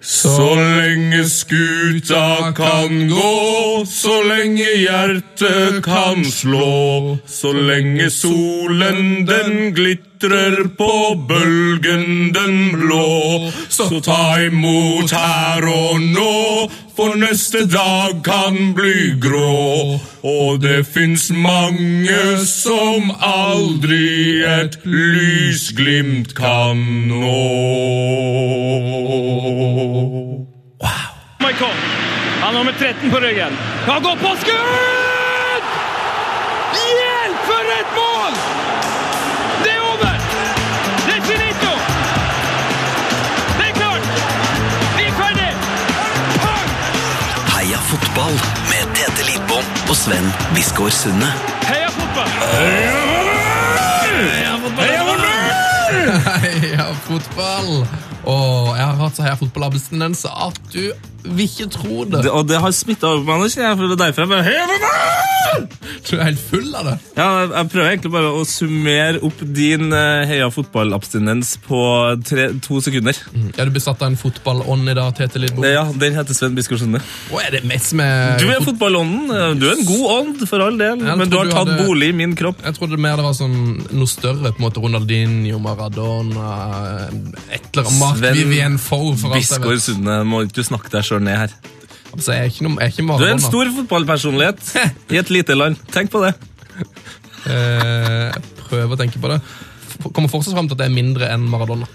Så lenge skuta kan gå, så lenge hjertet kan slå, så lenge solen den glitrer på bølgen den blå, så ta imot her og nå, for neste dag kan bli grå, og det fins mange som aldri et lysglimt kan nå. Michael. Han har nummer 13 på ryggen. Han går på skudd! Hjelp for et mål! Det er over! Det er finito! Det er klart! Vi er ferdig! Heia fotball med Tete Lidbom og Sven Biskår Sunde. Heia fotball! Heia fotball! Og jeg har hatt så heia fotballabelstendenser at du vil ikke tro det. Det, og det har smitta over på meg nå, kjenner jeg. for det er Derfor jeg bare «Hei, hva da?» Du er helt full av det. ja, jeg, jeg prøver egentlig bare å summere opp din eh, heia fotballabstinens på tre, to sekunder. Er du besatt av en fotballånd i dag, Tete Lidbom? Det, ja, Den heter Sven Biskår Sunde. Og er det mest med Du er fotballånden. eh, Du er en god ånd, for all del, Jeg men du har tror du tatt hadde- bolig i min kropp. Jeg trodde mer det var sånn noe større. på en måte Ronaldinho, Maradona Et eller annet Mark Sven Vivien Foe. for alt jeg Biskår vet. Sunde, må ikke du snakke deg sjøl ned her. Altså, jeg er ikke, noe, jeg er ikke Du Maradona. er en stor fotballpersonlighet i et lite land. Tenk på det. Eh, jeg prøver å tenke på det. F- Kommer fortsatt frem til at jeg er mindre enn Maradona.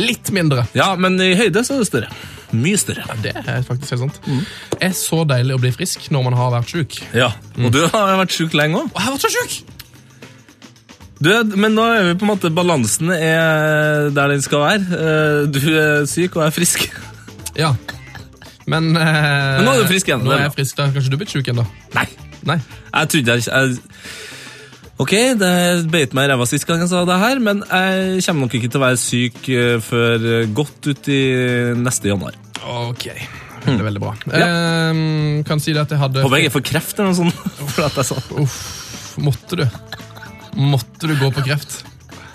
Litt mindre. Ja, men i høyde så er det større. Mye større. Det er faktisk helt sant. Mm. Er så deilig å bli frisk når man har vært sjuk. Ja, Mm. Og du har vært sjuk lenge òg. Og jeg har vært så sjuk! Men nå er vi på en måte balansen er der den skal være. Eh, Du er syk, og jeg er frisk. Ja. Men, eh, nå er du frisk igjen, Nå det er er jeg bra. frisk da. Kanskje du er blitt sjuk ennå? Nei, Nei. jeg trodde jeg ikke jeg... Ok, det beit meg i ræva sist gang jeg sa det her, men jeg kommer nok ikke til å være syk eh, før eh, godt ut i neste januar. Ok. Veldig, veldig bra. Eh, kan si det at jeg hadde Håper jeg ikke får kreft eller noe sånt. for at jeg sa Uff, måtte du. Måtte du gå på kreft?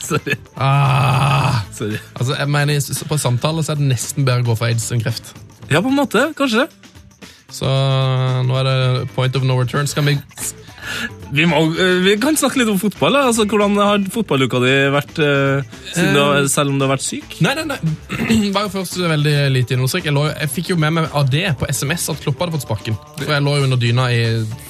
Sorry. Ah, Sorry. altså, jeg mener, i s- På samtale så er det nesten bedre å gå for aids enn kreft. Ja, på en måte. Kanskje. Så eh, nå er det point of no return. Skal vi Vi, må, eh, vi kan snakke litt om fotball. da. Altså, hvordan har fotballuka di vært, eh, siden du har, selv om du har vært syk? Nei, nei, nei. Var jo først veldig lite innholdsrik. Jeg, lå jo- jeg fikk jo med meg av det på SMS at Kloppa hadde fått sparken. For jeg lå jo under dyna i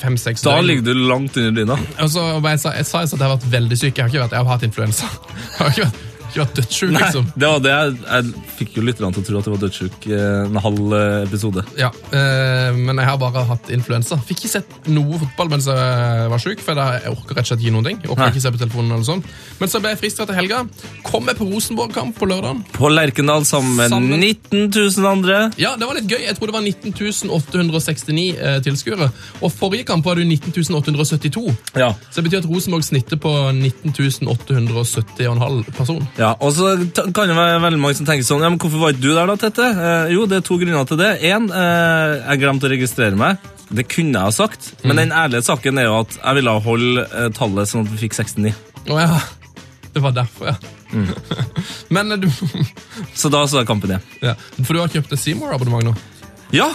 fem-seks Da døgn. ligger du langt under dyna. Og så var jeg, sa- jeg sa jo at jeg har vært veldig syk. Jeg har ikke vært, jeg har hatt influensa. Jeg har ikke vært, ikke vært dødssjuk, Nei, liksom. det var det. Jeg, jeg fikk jo lytterne til å tro at du var dødssjuk eh, en halv eh, episode. Ja, eh, men jeg har bare hatt influensa. Fikk ikke sett noe fotball mens jeg var syk, for da- jeg orker rett og slett ikke noen ting. Jeg orker Nei. ikke se på telefonen eller sånn. Men så ble jeg frista til helga. Kom jeg på Rosenborg-kamp på lørdagen. På Lerkendal sammen med Sammen. 19 000 andre. Ja, det var litt gøy. Jeg tror det var 19.869 eh, tilskuere. Og forrige kamp var det jo 19.872. Ja. Så det betyr at Rosenborg snitter på 19.870,5 person. Ja, og så ta- kan det være veldig mange som tenker sånn, ja, men hvorfor var ikke du der da, Tette? Eh, jo, det er to grunner til det. En, eh, jeg glemte å registrere meg. Det kunne jeg ha sagt, men den ærlige saken er jo at jeg ville ha holdt eh, tallet sånn at vi fikk 69. Å ja. Det var derfor, ja. Men eh, du Så da så jeg kampen igjen. ja. For du har kjøpt et Seymour-abonnement nå? Ja,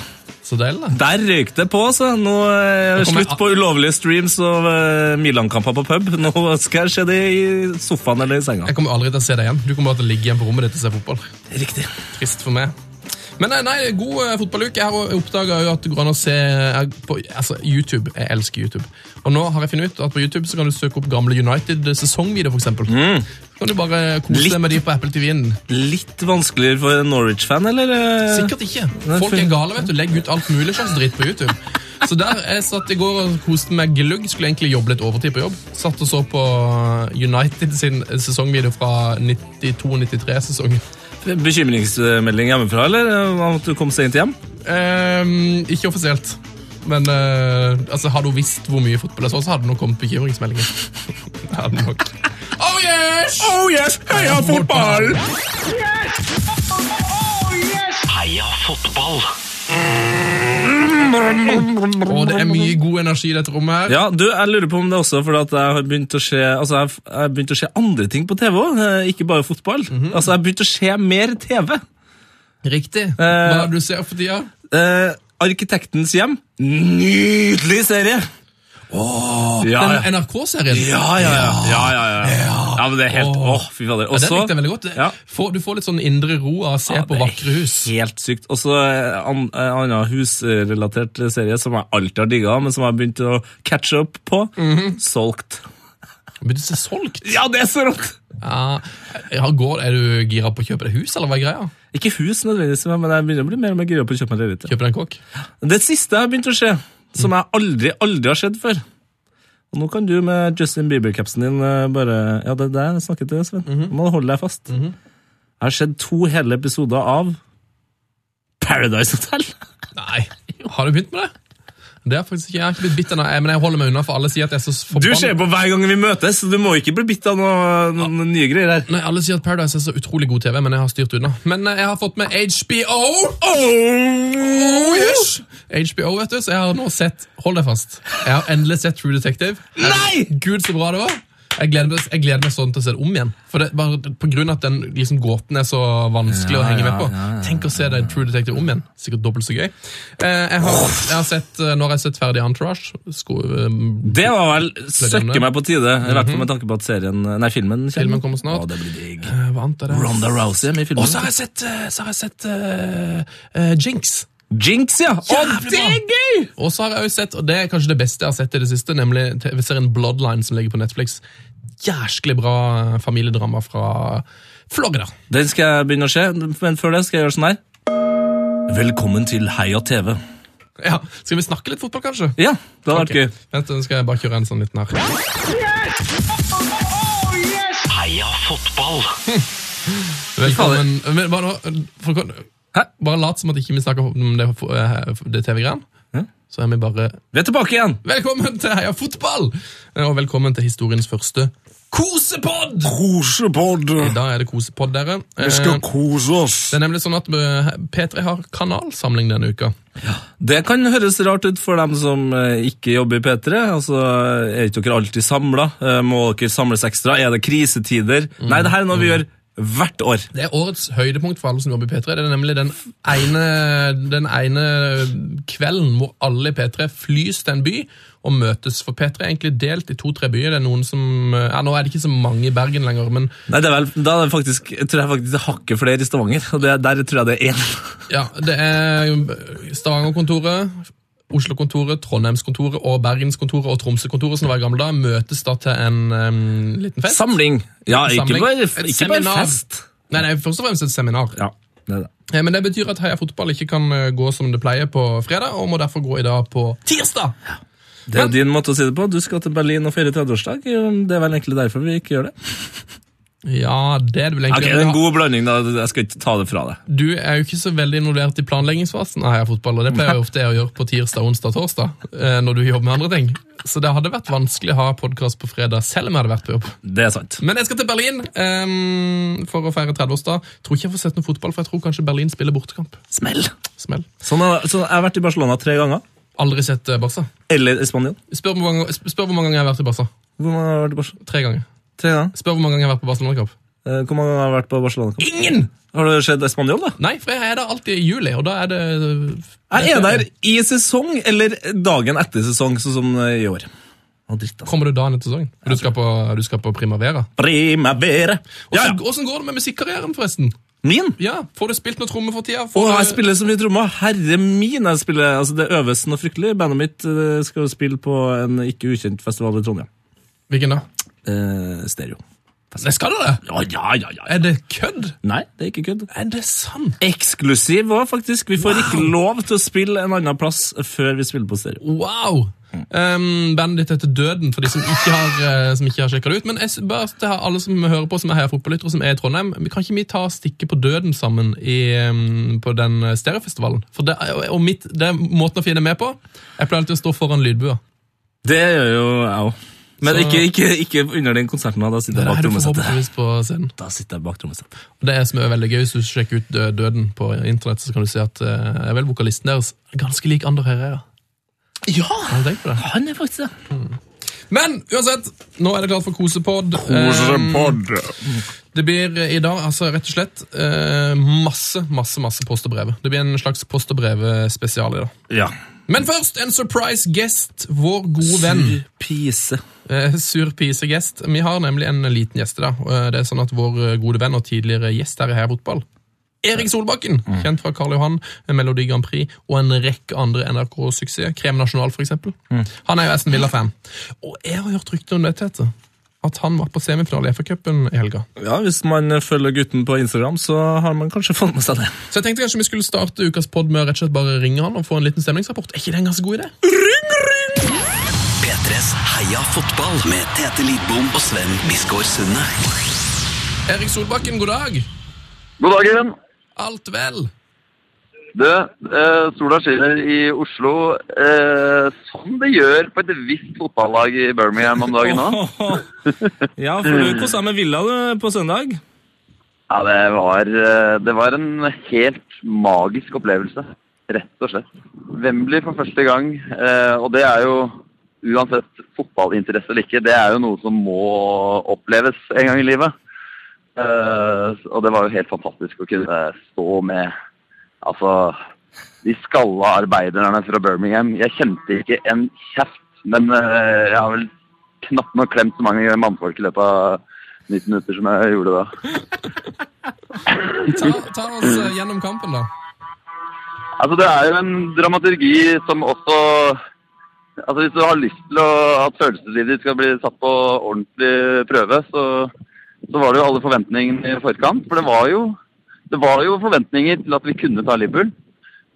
Så deilig, da. der røyk det på, så nå eh, Da kommer slutt jeg- på ulovlige streams og eh, Milan-kamper på pub. Nå skal jeg se det i sofaen eller i senga. Jeg kommer aldri til å se deg igjen. Du kommer bare til å ligge igjen på rommet ditt og se fotball. Riktig. Trist for meg. Men nei, nei god eh, fotballuke. Jeg har oppdaga at det går an å se jeg, på altså, YouTube. Jeg elsker YouTube. Og nå har jeg funnet ut at på YouTube så kan du søke opp gamle United-sesongvideoer, f.eks. Mm. Så kan du bare kose Litt- deg med de på Apple TV-en. Litt vanskeligere for en Norwich-fan, eller? eh? Sikkert ikke. Folk er gale, vet du. Legger ut alt mulig slags dritt på YouTube. Så der jeg satt i går og koste meg glugg. Skulle egentlig jobbe litt overtid på jobb. Satt og så på United sin sesongvideo fra 92-93-sesongen. Bekymringsmelding hjemmefra, eller? Eh, Om at du kom sent hjem? Ehm, ikke offisielt. Men eh, altså, hadde hun visst hvor mye fotball jeg så, så hadde hun nok kommet bekymringsmeldinger. Det hadde hun nok. Oh yes! Oh yes, heia fotball! Heia fotball! Og det er mye god energi i dette rommet her. Ja, du, jeg lurer på om det er også fordi at jeg har begynt å se, altså jeg, jeg har eh, Mhm. begynt å se andre ting på TV òg, ikke bare fotball. Altså, jeg har begynt å se mer TV. Riktig. Hva er det du ser for tida? Eh, Arkitektens hjem. Nydelig serie! ja, Ah, ja. Den NRK-serien. Ja, ja, ja. Ja, ja, ja. ja men det er helt Åh, fy fader. Ja, Og den så- likte jeg veldig godt. Ja. Ah, Får- du får litt sånn indre ro av å se på vakre hus. Helt sykt. Og så eh, an- eh, annen husrelatert serie som jeg alltid har digga, men som jeg har begynt å catche up på. Mhm. Solgt. Men det er solgt. Ja, det er så rått! Ja. Ja, går, er du gira på å kjøpe deg hus, eller hva er greia? Ikke hus nødvendigvis, men jeg begynner å bli mer og mer gira på å kjøpe meg leilighet. Kjøpe deg en kokk? Det siste jeg har begynt å se, som jeg aldri, aldri har sett før. Og nå kan du med Justin Bieber-capsen din eh, bare Ja, det er det jeg snakker til, Sven. Nå må du holde deg fast. Jeg har sett to hele episoder av Paradise Hotel. Nei. Har du begynt med det? Det har faktisk ikke, Jeg har ikke blitt bitt ennå, jeg- men jeg holder meg unna, for alle sier at jeg er så Du ser forbanna. på hver gang vi møtes, så du må ikke bli bitt av noen nye greier her. Nei, Alle sier at Paradise er så utrolig god TV, men jeg har styrt unna. Men eh, jeg har fått med HBO! Oh, yes! HBO, vet du, så jeg har nå sett Hold deg fast. Jeg har endelig sett True Detective. Nei! Gud, så bra det var! Jeg gleder meg, jeg gleder meg sånn til å se det om igjen. For det, bare på grunn av at den liksom, gåten er så vanskelig å henge med på. Tenk å se det i True Detective om igjen. Sikkert dobbelt så gøy. Eh, jeg har, jeg har sett, eh, Når jeg har sett ferdig Entourage sko, eh, Det var vel denne? søkke meg på tide, i hvert fall med tanke på at serien, nei, Mhm. filmen kommer. Filmen kommer snart. Å, det blir digg. eh, Hva annet er det? Ronda Rousey er med i filmen. Og så har jeg sett, eh, så har jeg sett eh, eh, Jinx. Jinx, ja! Å, det Jævlig bra! er gøy! Og så har jeg også sett, og det er kanskje det beste jeg har sett i det siste, nemlig TV-serien Bloodline som ligger på Netflix. Jæsklig bra eh, familiedrama fra Florida. Den skal jeg begynne å se, men før det skal jeg gjøre sånn her. Velkommen til Heia TV. Ja, Skal vi snakke litt fotball, kanskje? Ja, det hadde vært Ok. gøy. Vent, nå skal jeg bare kjøre en sånn liten her. Heia fotball. Velkommen. Men bare, nå- for, Hæ? bare lat som at ikke vi snakker om det, det TV-greien. Hæ? Så er vi bare Vi er tilbake igjen! Velkommen til Heia fotball! Og velkommen til historiens første kosepod! Kosepod. I dag er det kosepod, dere. Vi Eh. skal kose oss. Det er nemlig sånn at eh, P3 har kanalsamling denne uka. Det kan høres rart ut for dem som eh, ikke jobber i P3. Altså, Er ikke dere alltid samla? Må dere samles ekstra? Er det krisetider? Mm. Nei, det her er noe vi gjør hvert år. Det er årets høydepunkt for alle som jobber i P3. Det er nemlig den ene, den ene kvelden hvor alle i P3 flys til en by og møtes. For P3 er egentlig delt i to-tre byer. Det er noen som, eh, ja, Nå er det ikke så mange i Bergen lenger, men Nei, det er vel, Da er det faktisk, jeg tror jeg faktisk det er hakket flere i Stavanger. og det, Der tror jeg det er én. ja, det er Stavanger-kontoret. Oslo-kontoret, Trondheims-kontoret og Bergens-kontoret og Tromsø-kontoret som det var i gamle dager, møtes da til en em, liten fest. Samling. Ja, En ikke samling. bare, Et ikke bare seminar. fest. Nei, nei, først og fremst et seminar. Ja, det er det. Eh, Men det betyr at Heia Fotball ikke kan eh, gå som det pleier på fredag, og må derfor gå i dag på tirsdag. Det er jo din måte å si det på. Du skal til Berlin og feire 30-årsdag. Det er vel egentlig derfor vi ikke gjør det. Ja, det er det vel Ok, egentlig. det er En god blanding, da. Jeg skal ikke ta det fra deg. Du er jo ikke så veldig involvert i planleggingsfasen av Heia Fotball, og det pleier jeg ofte å gjøre på tirsdag, onsdag og torsdag, eh, når du jobber med andre ting. Så det hadde vært vanskelig å ha podkast på fredag, selv om jeg hadde vært på jobb. Det er sant. Men jeg skal til Berlin ehm, for å feire 30-årsdag. Tror ikke jeg får sett noe fotball, for jeg tror kanskje Berlin spiller bortekamp. Smell. Smell. Sånn har, så jeg har vært i Barcelona tre ganger. Aldri sett eh, Barca. Eller i Spania. Spør hvor, mange, spør hvor mange ganger jeg har vært i Barca. Hvor mange har jeg vært i Barcelona? Tre ganger. Tre ganger. Spør hvor mange ganger jeg har vært på Barcelona-kamp. Eh, Hvor mange har jeg vært på Barcelona? Ingen! Har du sett Spanjol, da? Nei, for jeg er der alltid i juli, og da er det Jeg er der i sesong eller dagen etter sesong, sånn som i år. Å, dritt, altså. Kommer du dagen etter sesongen? Du skal på, du skal på Primavera. Primavera. Ja, Åssen ja. åssen går det med musikkarrieren, forresten? Min? Ja, Får du spilt noe tromme for tida? Å, Får jeg du- spiller så mye trommer. Herre min, jeg spiller, altså det øves noe fryktelig. Bandet mitt eh, skal jo spille på en ikke ukjent festival i Trondheim. Hvilken da? Eh, stereo. Nei, skal du det? Ja, ja, ja, ja. Er det kødd? Nei, det er ikke kødd. Er det sant? Eksklusiv òg, faktisk. Vi får ikke lov til å spille en annen plass før vi spiller på stereo. Wow! Um, bandet ditt heter Døden, for de som ikke har, eh, som ikke har sjekka det ut. Men jeg, s- bare til alle som hører på, som er her fotballyttere, som er i Trondheim, vi- kan ikke vi ta og stikke på Døden sammen i, em, på den eh, stereofestivalen? For det, er- og mitt, det er måten å finne med på. Jeg pleier alltid å stå foran lydbua. Det gjør jo jeg òg. Men Så- ikke, ikke, ikke under den konserten. da. Da sitter jeg Nei, bak du får trommesettet. forhåpentligvis på scenen. Da sitter jeg bak trommesettet. Og Det er som er veldig gøy, Hvis du sjekker ut eh, Døden på internett, så kan du se at eh, er vel vokalisten deres ganske lik Ander Herrera. Ja! Har du tenkt på det? Han er faktisk det. Men uansett, nå er det klart for kosepod. Ehm, Kosepod. Det blir i dag altså rett og slett eh, masse masse, masse post og brev. Det blir en slags post og brev-spesial i dag. Ja. Men først en surprise guest, vår gode venn. Pise. Eh, Sur pise-gjest. Vi har nemlig en liten gjest i dag. og, eh, Det er sånn at Vår eh, gode venn og tidligere gjest her i Heia Fotball, Erik Solbakken, kjent fra Karl Johan, eh, Melodi Grand Prix og en rekke andre NRK-suksesser, Krem Nasjonal f.eks. eksempel. Han er jo Aston Villa-fan. Og jeg har hørt rykter om det, Tete, at han var på semifinale i FA-cupen i helga. Ja, Hvis man følger gutten på Instagram, så har man kanskje fått med seg det. Så jeg tenkte kanskje vi skulle starte ukas pod med å rett og slett bare ringe han og få en liten stemningsrapport. Er ikke det en ganske god idé? P3s Heia fotball med Tete Lidbom og Sven Biskår Sunde. Erik Solbakken, god dag. God dagen. Alt vel? Du, eh, sola skinner i Oslo, eh, som det gjør på et visst fotballag i Birmingham om dagen nå. ja, for du kosa med Villa du, på søndag. Ja, det var, eh, det var en helt magisk opplevelse, rett og slett. Wembley for første gang, eh, og det er jo uansett fotballinteresse eller ikke, det er jo noe som må oppleves en gang i livet. Eh, Og det var jo helt fantastisk å kunne stå med altså, de skalla arbeiderne fra Birmingham. Jeg kjente ikke en kjeft, men eh, jeg har vel knapt nok klemt så mange mannfolk i løpet av 90 minutter som jeg gjorde da. Ta, ta oss eh, gjennom kampen, da. Altså, det er jo en dramaturgi som også Altså, hvis du har lyst til å, at følelseslivet ditt skal bli satt på ordentlig prøve, så, så var det jo alle forventningene i forkant. For det var jo, det var jo forventninger til at vi kunne ta Liverpool.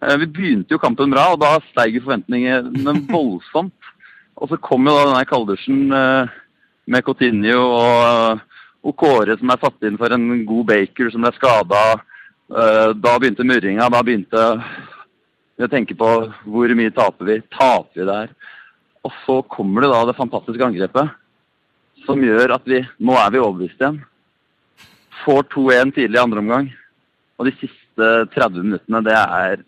Eh, Vi begynte jo kampen bra, og da steg jo forventningene voldsomt. Og så kom jo da denne kalddusjen eh, med Coutinho og, og Kåre som er satt inn for en god baker som ble skada. Da begynte murringa. Da begynte jeg å tenke på hvor mye taper vi? Taper vi der? Og så kommer det da det fantastiske angrepet som gjør at vi Nå er vi overbevist igjen. Får 2-1 tidlig i andre omgang. Og de siste 30 minuttene, det er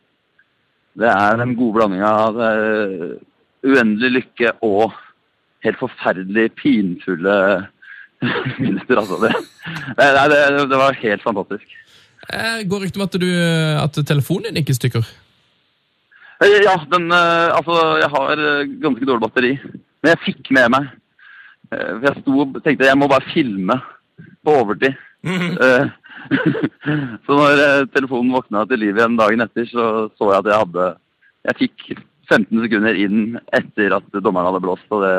det er en god blanding av eh, uendelig lykke og helt forferdelig pinfulle minutter. Altså. Det, nei, det, det var helt fantastisk. Eh, Går ryktet om at, du, at telefonen din gikk i stykker? Eh, Ja, den eh, Altså, jeg har eh, ganske dårlig batteri. Men jeg fikk med meg. Eh, For jeg sto og tenkte jeg må bare filme på overtid. Eh, så når eh, telefonen våkna til liv igjen dagen etter, så så jeg at jeg hadde Jeg fikk 15 sekunder inn etter at dommeren hadde blåst, og det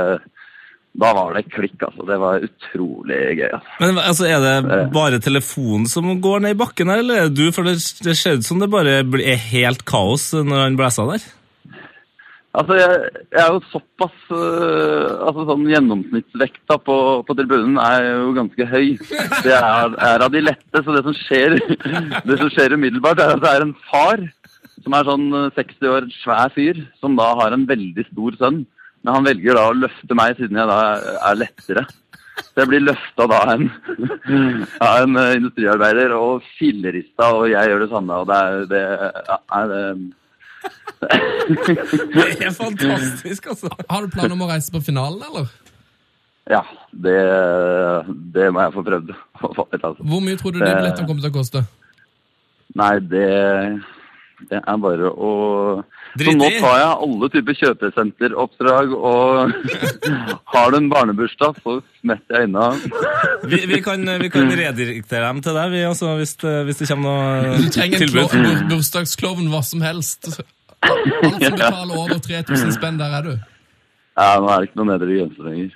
da var det klikk, altså. Det var utrolig gøy. altså. Men altså, Er det bare telefonen som går ned i bakken her, eller er det du? For det, det ser ut som det bare blir- er helt kaos når han blæser der. Altså, jeg, jeg er jo såpass øh, altså sånn Gjennomsnittsvekta på, på tribunen er jo ganske høy. Det er, er av de lette, så det som skjer, det som skjer umiddelbart, er at det er en far som er sånn øh, 60 år, svær fyr, som da har en veldig stor sønn. Men han velger da å løfte meg, siden jeg da er lettere. Så jeg blir løfta da av en, av en øh, industriarbeider og fillerista, og jeg gjør det samme. Og det er, det, ja, nei, det Det er fantastisk, altså. Har du planer om å reise på finalen, eller? Ja, det, det må jeg få prøvd. å få til, Altså. Hvor mye tror du de Eh. billettene kommer til å koste? Nei, det, det er bare å Så Drit nå i. tar jeg alle typer kjøpesenteroppdrag, og har du en barnebursdag, så smetter jeg unna. Vi, vi, kan, vi kan redirektere dem til deg vi, altså, hvis, det, hvis det kommer Du noe trenger en klo- tilbud. bur- bursdagsklovn, hva som helst. Alt som betaler over 3000 spenn, der er du. Ja, nå er det ikke noen nedre grense lenger.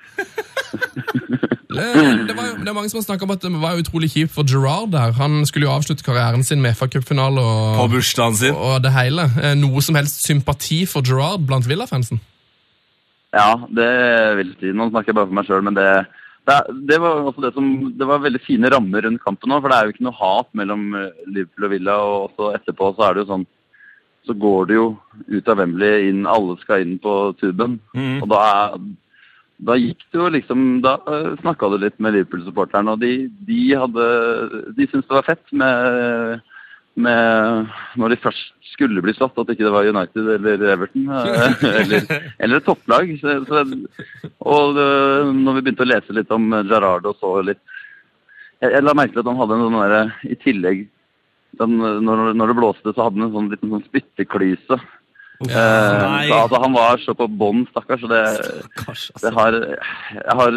Eh, Det, var, jo- det er mange som har snakket om at det var utrolig kjipt for Gerard der. Han skulle jo avslutte karrieren sin med FA-cupfinale På og, bursdagen sin. og det hele. Eh, Noe som helst sympati for Gerard blant Villa-fansen. Ja, det vil jeg si. Nå snakker jeg bare for meg sjøl, men det, det, er- det var også det som Det var veldig fine rammer rundt kampen nå, for det er jo ikke noe hat mellom eh, Liverpool og Villa, og også etterpå så er det jo sånn så går det jo ut av Wembley inn, alle skal inn på tuben. Og da, da gikk det jo liksom Da uh, snakka du litt med Liverpool-supporterne, og de, de hadde De syntes det var fett med med Når de først skulle bli slått, at ikke det var United eller Everton eh, eller, eller et topplag. Så, så, og eh, når vi begynte å lese litt om Gerrard og så litt Jeg, jeg la merke til at han hadde en sånn derre I tillegg den, når, når det blåste, så hadde han en sånn liten sånn spytteklyse. Eh, så altså, han var så på bånn, stakkars. Så det, Kanskje, altså. det har, jeg har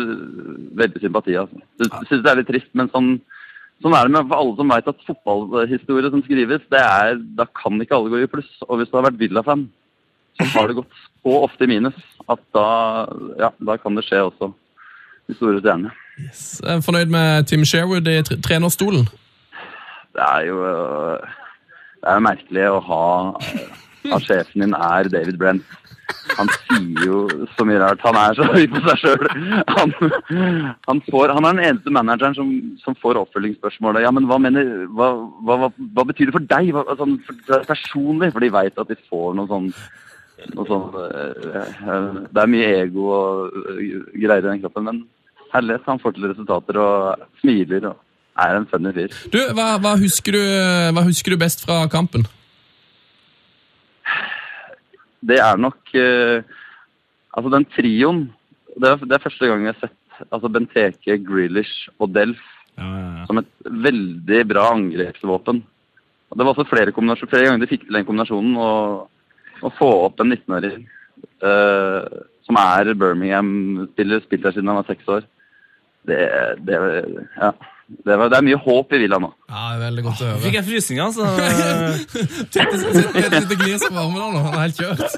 veldig sympati. Altså. Jeg syns det er litt trist, men sånn, sånn er det med for alle som veit at fotballhistorie som skrives, det er, da kan ikke alle gå i pluss. Og hvis du har vært Villa-fan, så har det gått så ofte i minus at da, ja, da kan det skje også de store stjernene. Så jeg er eh, Fornøyd med Tim Sherwood i tre- trenerstolen? Det er jo øh, det er jo merkelig å ha øh, at sjefen din er David Brent. Han sier jo så mye rart. Han er så høy på seg sjøl. Han, han, får- han er den eneste manageren som, som får oppfølgingsspørsmålet. Ja, men hva, mener, hva, hva, hva, hva betyr det for deg? Hva, sånn, for, for deg personlig? For de veit at de får noe sånn noe sånn, øh, øh, Det er mye ego og øh, greier i den kroppen, men herlighet, han får til resultater og smiler og er en funny fyr. Du, hva, hva, husker du, hva husker du best fra kampen? det er nok eh, Altså, den trioen det er, det er første gang jeg har sett altså Benteke, Grealish og Delf Ja, ja, ja. som et veldig bra angrepsvåpen. Og det var også flere, kombinasjoner- flere ganger de fikk til den kombinasjonen å, å få opp en 19-åring eh, som er Birmingham-spiller, spilt der siden han var seks år. Det, det, ja, det, var, det er mye håp i Villa nå. Ja, Veldig godt å Fikk høre. jeg frysninger, altså? Et lite glis av varmen der nå. Han er helt kjørt.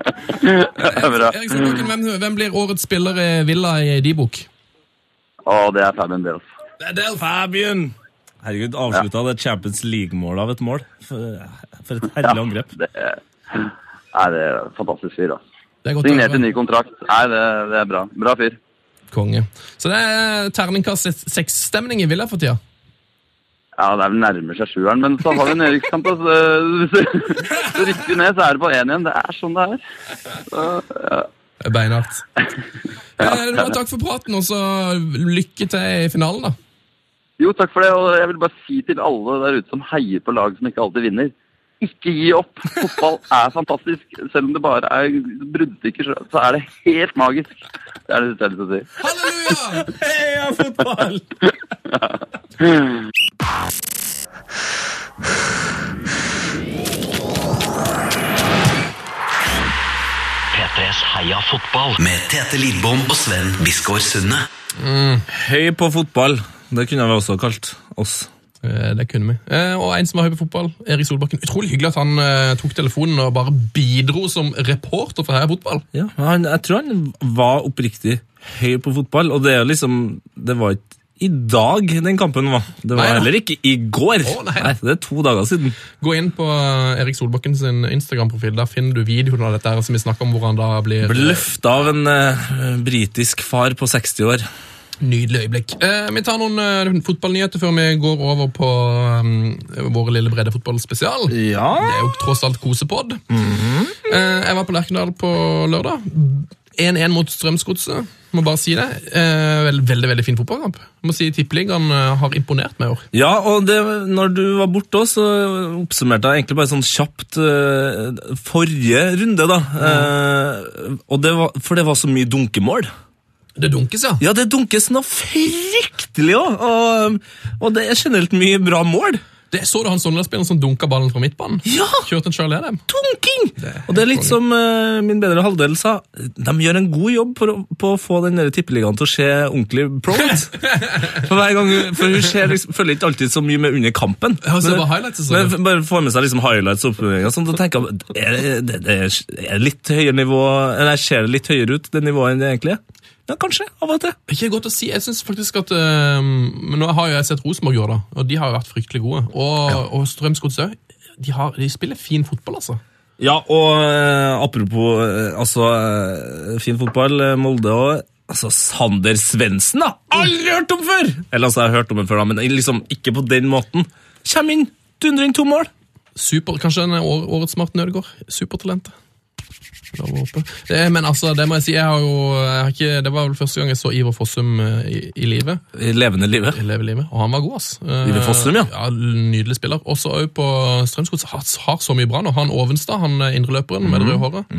Det er bra. Erik Solbakken, hvem, hvem blir årets spiller i Villa i din bok? Å, det er Fabian Delf. Fabian! Herregud, avslutta det Champions League-målet av et mål. For, for et herlig angrep. Det er, nei, det er en fantastisk fyr, altså. Det er godt å Signert en høre. ny kontrakt. Nei, det, det er bra. Bra fyr. Konge. Så det er terningkast seks-stemning i Villa for tida. Ja, det er vel nærmer seg sjueren, men så har vi en nedrykkskamp. altså. Hvis du- hvis du rykker ned, så er det på én igjen. Det er sånn det er. Det er Beinhardt. Eh, du, takk for praten, og så lykke til i finalen, da. Jo, takk for det. Og jeg vil bare si til alle der ute som heier på lag som ikke alltid vinner, ikke gi opp. Fotball er fantastisk. Selv om det bare er bruddstykker, så- så er det helt magisk. Det er det siste jeg har lyst til å si. Halleluja! Heia fotball! P3s Heia fotball med Tete Lidbom og Sven Biskår Sunde. Høy på fotball. Det kunne vi også kalt oss. Eh, Det kunne vi. Eh, Og en som var høy på fotball, Erik Solbakken. Utrolig hyggelig at han eh, tok telefonen og bare bidro som reporter for Heia Fotball. Ja, men han, jeg tror han var oppriktig høy på fotball, og det er jo liksom Det var ikke i dag den kampen var. Det var Nei, ja. heller ikke i går. Å, nei. Det er to dager siden. Gå inn på eh, Erik Solbakken sin Instagram-profil. Der finner du videoen av dette her som vi snakker om, hvor han da blir Ble løfta av en eh, britisk far på 60 år. Nydelig øyeblikk. Eh, vi tar noen eh, fotballnyheter før vi går over på eh, vår lille brede fotballspesial. Ja. Mhm. Det er jo tross alt kosepod. eh, jeg var på Lerkendal på lørdag. 1-1 mot Strømsgodset. Må bare si det. Eh, veld, veldig veldig fin fotballkamp. Må si Tippeligaen eh, har imponert meg i år. Ja, og det, når du var borte også, så oppsummerte jeg egentlig bare sånn kjapt eh, forrige runde, da. Eh, og det var, for det var så mye dunkemål. Det dunkes, ja. Ja, det dunkes noe fryktelig òg! Og, og det er generelt mye bra mål. Det Så du han Sogndal-spilleren som dunka ballen fra midtbanen? Ja! Kjørte en Charlie Adam. Dunking! Og det er litt som eh, min bedre halvdel sa, de gjør en god jobb på, å- på å få den der tippeligaen til å se ordentlig pro ut. for, hver gang, hun- for hun ser liksom, følger ikke alltid så mye med under kampen. Ja, så bare highlights og sånn, men ja. f- bare får med seg liksom highlights og oppfølging og sånn, da tenker jeg, er det- det, det er litt høyere nivå, eller ser det litt høyere ut, det nivået enn det egentlig er? Ja, kanskje, av og til. Ikke godt å si. Jeg synes faktisk at eh, men Nå har jo jeg sett Rosenborg gjøre det, og de har jo vært fryktelig gode. Og, og Strømsgodset òg. De, har- de spiller fin fotball, altså. Ja, og eh, apropos eh, altså, eh, fin fotball, eh, Molde og altså, Sander Svendsen, da! Aldri hørt om før! Eller altså, jeg har hørt om ham før, da, men liksom ikke på den måten. Kjem inn, dundrer inn to mål. Super, Kanskje den er år, årets Martin Ødegaard. Supertalentet. La meg håpe. Det, men altså, det må jeg si, jeg har jo jeg har ikke, Det var vel første gang jeg så Ivar Fossum eh, i, i live. I levende livet. i Leve livet, og han var god, ass. Eh, Ivar Fossum, ja. ja. Nydelig spiller. Også òg på Strømsgods har, har så mye bra nå. Han Ovenstad, han eh, indreløperen Mhm. med det røde håret.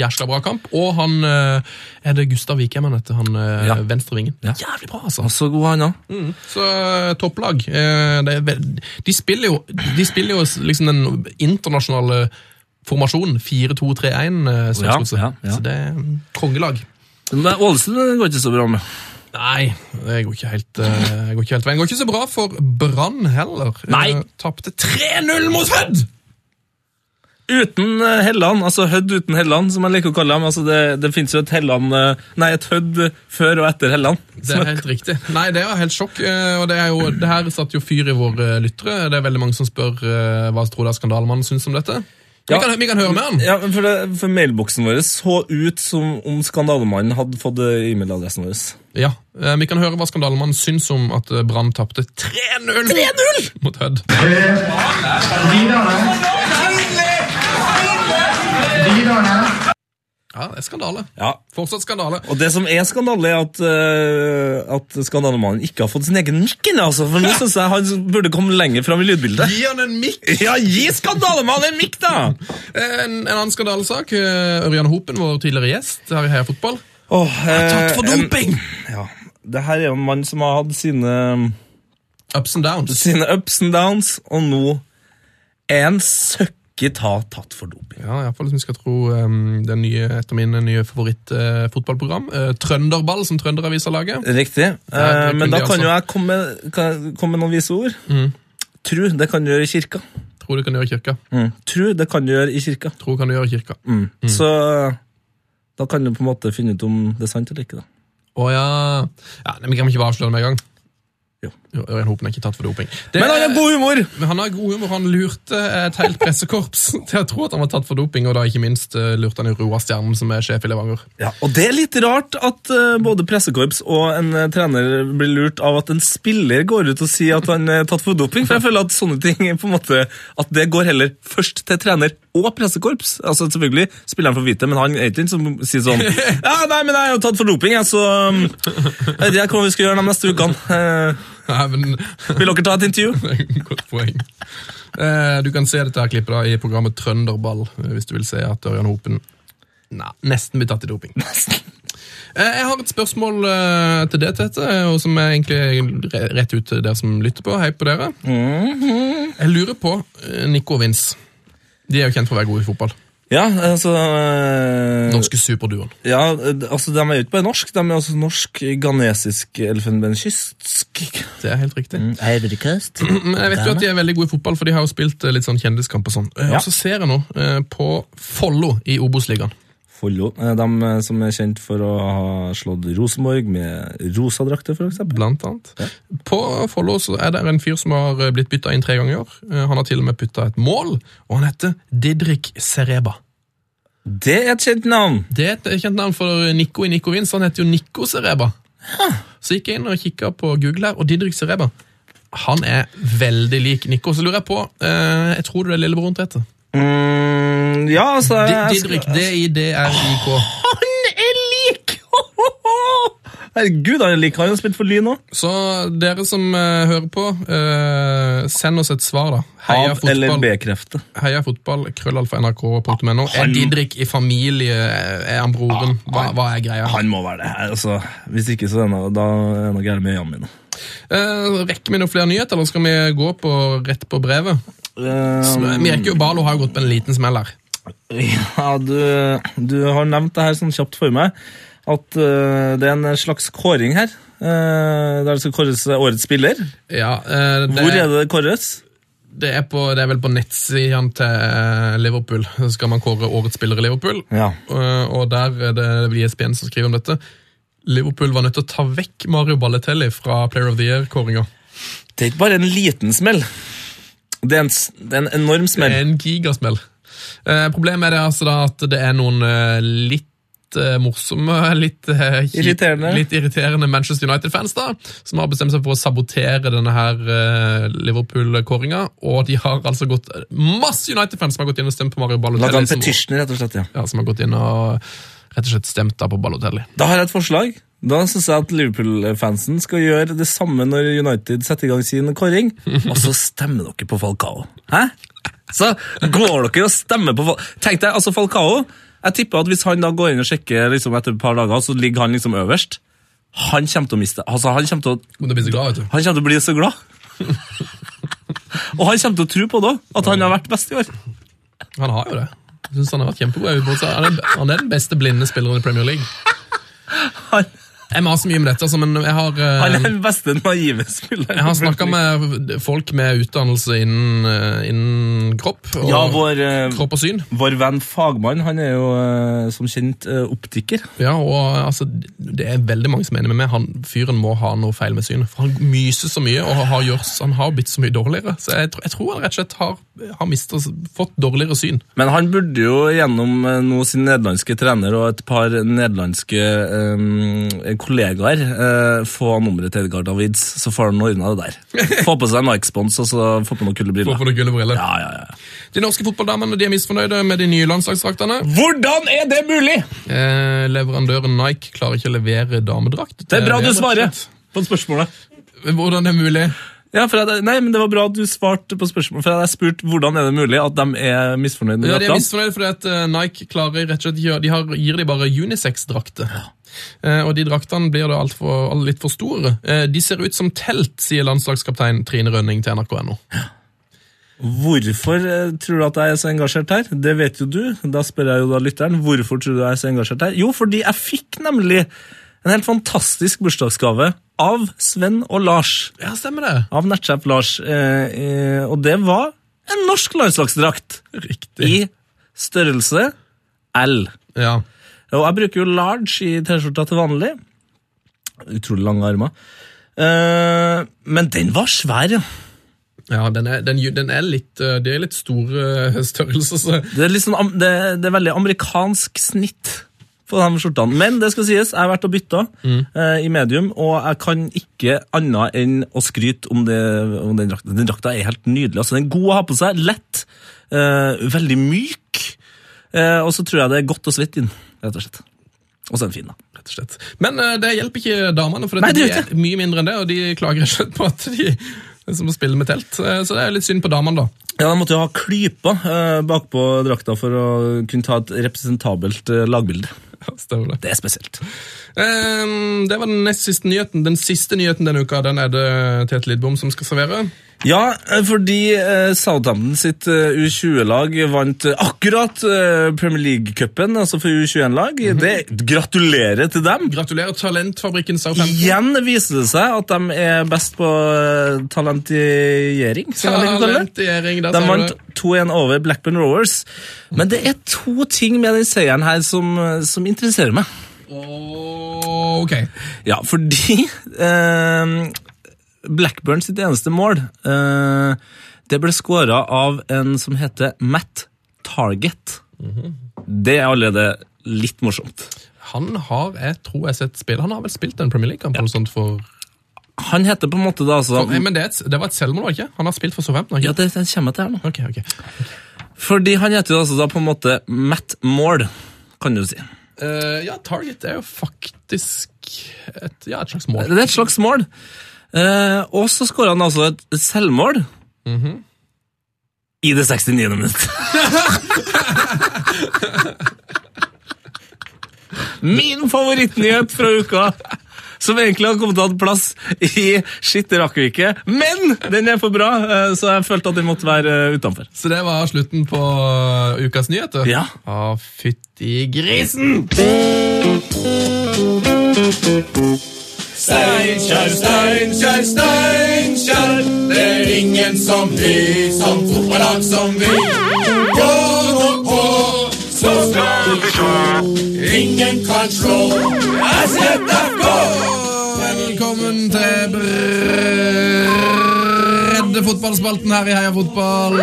Jæsla bra kamp. Og han eh, Er det Gustav Vikheim han heter? Han eh, Ja. venstrevingen. Ja. Jævlig bra, altså. Og så god han òg. Så eh, topplag. eh, det er vel- De spiller jo, de spiller jo s- liksom den internasjonale formasjonen 4-2-3-1, eh, Strømsgodset. Ja, ja, ja. Så det er mm, kongelag. Men Ålesund går ikke så bra med. Nei, det går ikke helt, eh, går ikke helt veien. Går ikke så bra for Brann heller. Nei. Eh, Tapte 3-0 mot Hødd! Uten eh, Helland, altså Hødd uten Helland, som jeg liker å kalle ham. Altså det, det finnes jo et Helland eh, Nei, et Hødd før og etter Helland. Det er helt riktig. Nei, det er helt sjokk. eh, Og det, er jo, det her satt jo fyr i våre eh, lyttere. Det er veldig mange som spør eh, hva tror dere skandalemannen syns om dette. Vi, Ja. kan, vi kan høre med han. Ja, men for, det, for mailboksen vår så ut som om skandalemannen hadde fått eh, e-mailadressen vår. Ja, eh, Vi kan høre hva skandalemannen syns om at eh, Brann tapte 3-0 mot Hødd. Ja, det er skandale. Ja. Fortsatt skandale. Og det som er skandale, er at, eh, at skandalemannen ikke har fått sin egen mikk ennå, altså. For nå synes jeg han burde komme lenger fram i lydbildet. Gi han en mikk! Ja, gi skandalemannen en mikk, da! Eh, En, en annen skandalesak. eh, Ørjan Hopen, vår tidligere gjest her i Heia Fotball. Åh, eh, Tatt for en- doping! Ja. Det her er jo en mann som har hatt sine Ups and downs. sine ups and downs, og nå er en søkket ta tatt for doping. Ja, i hvert fall hvis vi skal tro um, den nye, etter min nye favorittfotballprogram. Eh, Trønderball, som Trønderavisa lager. Riktig. Ja, Eh, det men kunne da de kan altså. Mm. jo jeg komme med, kan- komme med noen vise ord. Tru, det kan du gjøre i kirka. Tror du kan gjøre i kirka. Tru, det kan du gjøre i kirka. Tror kan du gjøre i kirka. Å Så da kan du på en måte finne ut om det er sant eller ikke. da. ja. ja nei, men kan vi ikke bare avsløre det med en gang? Jo. Ørjan Hopen er ikke tatt for doping. Det, Men han har god humor! Men han har god humor. Han lurte eh, et helt pressekorps til å tro at han var tatt for doping, og da ikke minst eh, lurte han jo Roar Stjernen, som er sjef i Levanger. Ja, og det er litt rart at eh, både pressekorps og en eh, trener blir lurt av at en spiller går ut og sier at han er tatt for doping, for jeg føler at sånne ting er på en måte, at det går heller først til trener og pressekorps. Altså selvfølgelig, spilleren får vite, men han er ikke den som sier sånn, ja, nei, men jeg er jo tatt for doping, jeg, så um, jeg vet ikke hva vi skal gjøre de neste ukene. Eh, Nei, men vil dere ta et intervju? Godt poeng. Eh, Du kan se dette her klippet da i programmet Trønderball, eh, hvis du vil se at Ørjan Hopen Nei, nesten blir tatt i doping. Eh, Jeg har et spørsmål eh, til det, Tete, og som er egentlig re- rett ut til dere som lytter på. Hei på dere. Jeg lurer på eh, Nico og Vince. De er jo kjent for å være gode i fotball. Ja, altså... eh, Norske superduoen. Ja, eh, altså de er jo ikke bare norsk, de er også norsk, ghanesisk, elfenbenskystsk. Det Mm, er helt riktig. Ivory Coast. Men jeg vet jo at de er veldig gode i fotball, for de har jo spilt eh, litt sånn kjendiskamp og sånn. Eh, Ja. Og så ser jeg nå eh, på Follo i Obos-ligaen. Follo. eh, De eh, som er kjent for å ha slått Rosenborg med rosa drakter, for eksempel. Blant annet. På Follo så er det en fyr som har eh, blitt bytta inn tre ganger. Eh, Han har til og med putta et mål, og han heter Didrik Sereba. Det er et kjent navn! Det er et eh, kjent navn for Nico i Nico Vince. Han heter jo Nico Sereba. Så gikk jeg inn og kikka på Google her, og Didrik Sereba han er veldig lik Nico. Så lurer jeg på eh, Jeg tror du er lillebroren til dette. Mm, ja, altså jeg Di- skal- Didrik. D-I-D-R-I-K. Han er lik! Herregud, han er lik. Han har jo spilt for Lyn òg. Så dere som eh, hører på, eh, send oss et svar, da. Heia Av eller fotball. B-krefter. Heia fotball, krøllalfa nrk.no. Er Didrik i familie? Er han broren? Hva, hva er greia? Han må være det her. altså. Hvis ikke, så er det noe, da er det noe gærent med øynene mine. Eh, rekker vi noen flere nyheter, eller skal vi gå på, rett på brevet? Eh, Vi rekker jo Balo har jo gått på en liten smell her. Ja, du, du har nevnt det her sånn kjapt for meg, at eh, det er en slags kåring her. eh, der det skal kåres årets spiller. Ja, eh, det, Hvor er det det kåres? Det er, på, det er vel på nettsidene til eh, Liverpool. Så skal man kåre årets spiller i Liverpool. Ja. Eh, og der er det det blir ESPN som skriver om dette. Liverpool var nødt til å ta vekk Mario Balletelli fra Player of the Year-kåringa. Det er ikke bare en liten smell. Det er en, s- det er en enorm Det smell. er en gigasmell. Eh, problemet er det altså da at det er noen eh, litt eh, morsomme, litt, eh, kjip- Irriterende. litt irriterende Manchester United-fans, da, som har bestemt seg for å sabotere denne her eh, Liverpool-kåringa. Og de har altså gått masse United-fans som har gått inn og stemt på Mario Lagde Balotelli. han Som, petition, rett og slett, ja. ja, som har gått inn og rett og slett stemt da på Balotelli. Da har jeg et forslag. Da syns jeg at Liverpool-fansen skal gjøre det samme når United setter i gang sin kåring, og så stemmer dere på Falcao. Hæ? Så går dere og stemmer på Falcao. Tenk deg, altså Falcao Jeg tipper at hvis han da går inn og sjekker liksom etter et par dager, så ligger han liksom øverst. Han kommer til å miste Altså, han kommer til å Men det blir så glad, vet du. han kommer til å bli så glad. og han kommer til å tro på det òg, at han har vært best i år. Han har jo det. Jeg synes han har vært kjempegod. Jeg vil bare si, Han er, han er den beste blinde spilleren i Premier League. Han- Jeg maser mye om dette, altså, men jeg har, eh, Han er den beste naive spilleren. jeg har snakka med folk med utdannelse innen, eh, innen kropp og ja, vår, eh, kropp og syn. vår venn fagmann han er jo eh, som kjent eh, optiker. Ja, og eh, altså, Det er veldig mange som er enig med meg. Han, fyren må ha noe feil med synet. for Han myser så mye og har, har gjort, han har blitt så mye dårligere. Så jeg, tror- jeg tror han rett og slett har, har mistet, fått dårligere syn. Men han burde jo gjennom eh, nå sin nederlandske trener og et par nederlandske eh, kollegaer eh, få nummeret til Edgar Davids, så får han ordna det der. Få på seg Nike-spons og så få på noen kule briller. Hvorfor det gulle briller? Ja, ja, ja. De norske fotballdamene de er misfornøyde med de nye landslagsdraktene. Mm. Hvordan er det mulig?! Eh, leverandøren Nike klarer ikke å levere damedrakt. Det er bra du rett og svarer slett. på spørsmålet. Men Hvordan er det mulig? Ja, for jeg, nei, men Det var bra at du svarte på spørsmålet. For jeg hadde spurt hvordan er det mulig at de er misfornøyd med Ja, de er Ratland. misfornøyde fordi at eh, Nike klarer rett og slett ikke å- De har, gir de bare unisex-drakter. Eh, og de draktene blir da alt for, all- litt for store. Eh, de ser ut som telt, sier landslagskaptein Trine Rønning til NRK.no. Hvorfor eh, tror du at jeg er så engasjert her? Det vet jo du. Da spør jeg jo da lytteren. Hvorfor tror du jeg er så engasjert her? Jo, fordi jeg fikk nemlig en helt fantastisk bursdagsgave av Sven og Lars. Ja, stemmer det. Av nettsjef Lars. Eh, eh, og det var en norsk landslagsdrakt Riktig. i størrelse L. Ja. Og jeg bruker jo large i T-skjorta til vanlig. Utrolig lange armer. Eh, men den var svær, ja. ja den, er, den, ju- den er litt eh, Det er litt store eh, størrelser, så Det er, litt sånn am- det, det er veldig amerikansk snitt på de skjortene. Men det skal sies, jeg har vært og bytta eh, i medium, og jeg kan ikke annet enn å skryte om, det, om den drakta. Den drakta er helt nydelig. altså Den er god å ha på seg, lett, eh, veldig myk. Eh, og så tror jeg det er godt å svette inn, rett og slett. Og så er den fin, da. rett og slett. Men eh, det hjelper ikke damene, for Nei, de det gjør er mye mindre enn det, og de klager rett og slett på at de det er som å spille med telt. Eh, Så det er litt synd på damene, da. Ja, De måtte jo ha klyper eh, bakpå drakta for å kunne ta et representabelt eh, lagbilde. Ja, stemmer det. Det er spesielt. Ehm, det var den nest siste nyheten. Den siste nyheten denne uka den er det Tete Lidbom som skal servere. Ja, eh, fordi eh, Southampton sitt eh, U20-lag vant eh, akkurat eh, Premier League-cupen, altså for U21-lag. Mhm. Det Gratulerer til dem! Gratulerer, Talentfabrikken Southampton. Igjen viser det seg at de er best på eh, talentiering. skal jeg like å kalle det. Talentering, De der ser du vant det. 2-1 over Blackburn Rovers. Men det er to ting med den seieren her som, eh, som interesserer meg. Åh, ok. Ja, fordi eh, Blackburn sitt eneste mål eh, Det ble skåra av en som heter Matt Target. Det er allerede litt morsomt. Han har, jeg tror jeg har sett spill. Han har vel spilt en Premier League-kamp eller noe sånt for... Han heter på en måte da altså Nei, men det, er et- det var et selvmål, var det ikke? Han har spilt for Southampton, har Ja, han ikke? det, det kommer jeg til her nå. Ok, ok. Fordi han heter jo altså da på en måte Matt Mål, kan du si. Eh, ja, Target er jo faktisk et, ja, et slags mål. Det er et slags mål. Eh, og så skårer han altså et selvmål i det 69. minutt. Min favorittnyhet fra uka, som egentlig har kommet til å ha plass i Shit, det rakk vi ikke. Men den er for bra, eh, så jeg følte at den måtte være eh, utenfor. Så det var slutten på eh, ukas nyheter. Ja. Å, fytti grisen! Steinkjer, Steinkjer, Steinkjer. Det er ingen som vi, som fotballag som vi. Gå nå på, så skal vi slå. Ingen kan slå. SFK! Velkommen til breddefotballspalten her i Heia Fotball.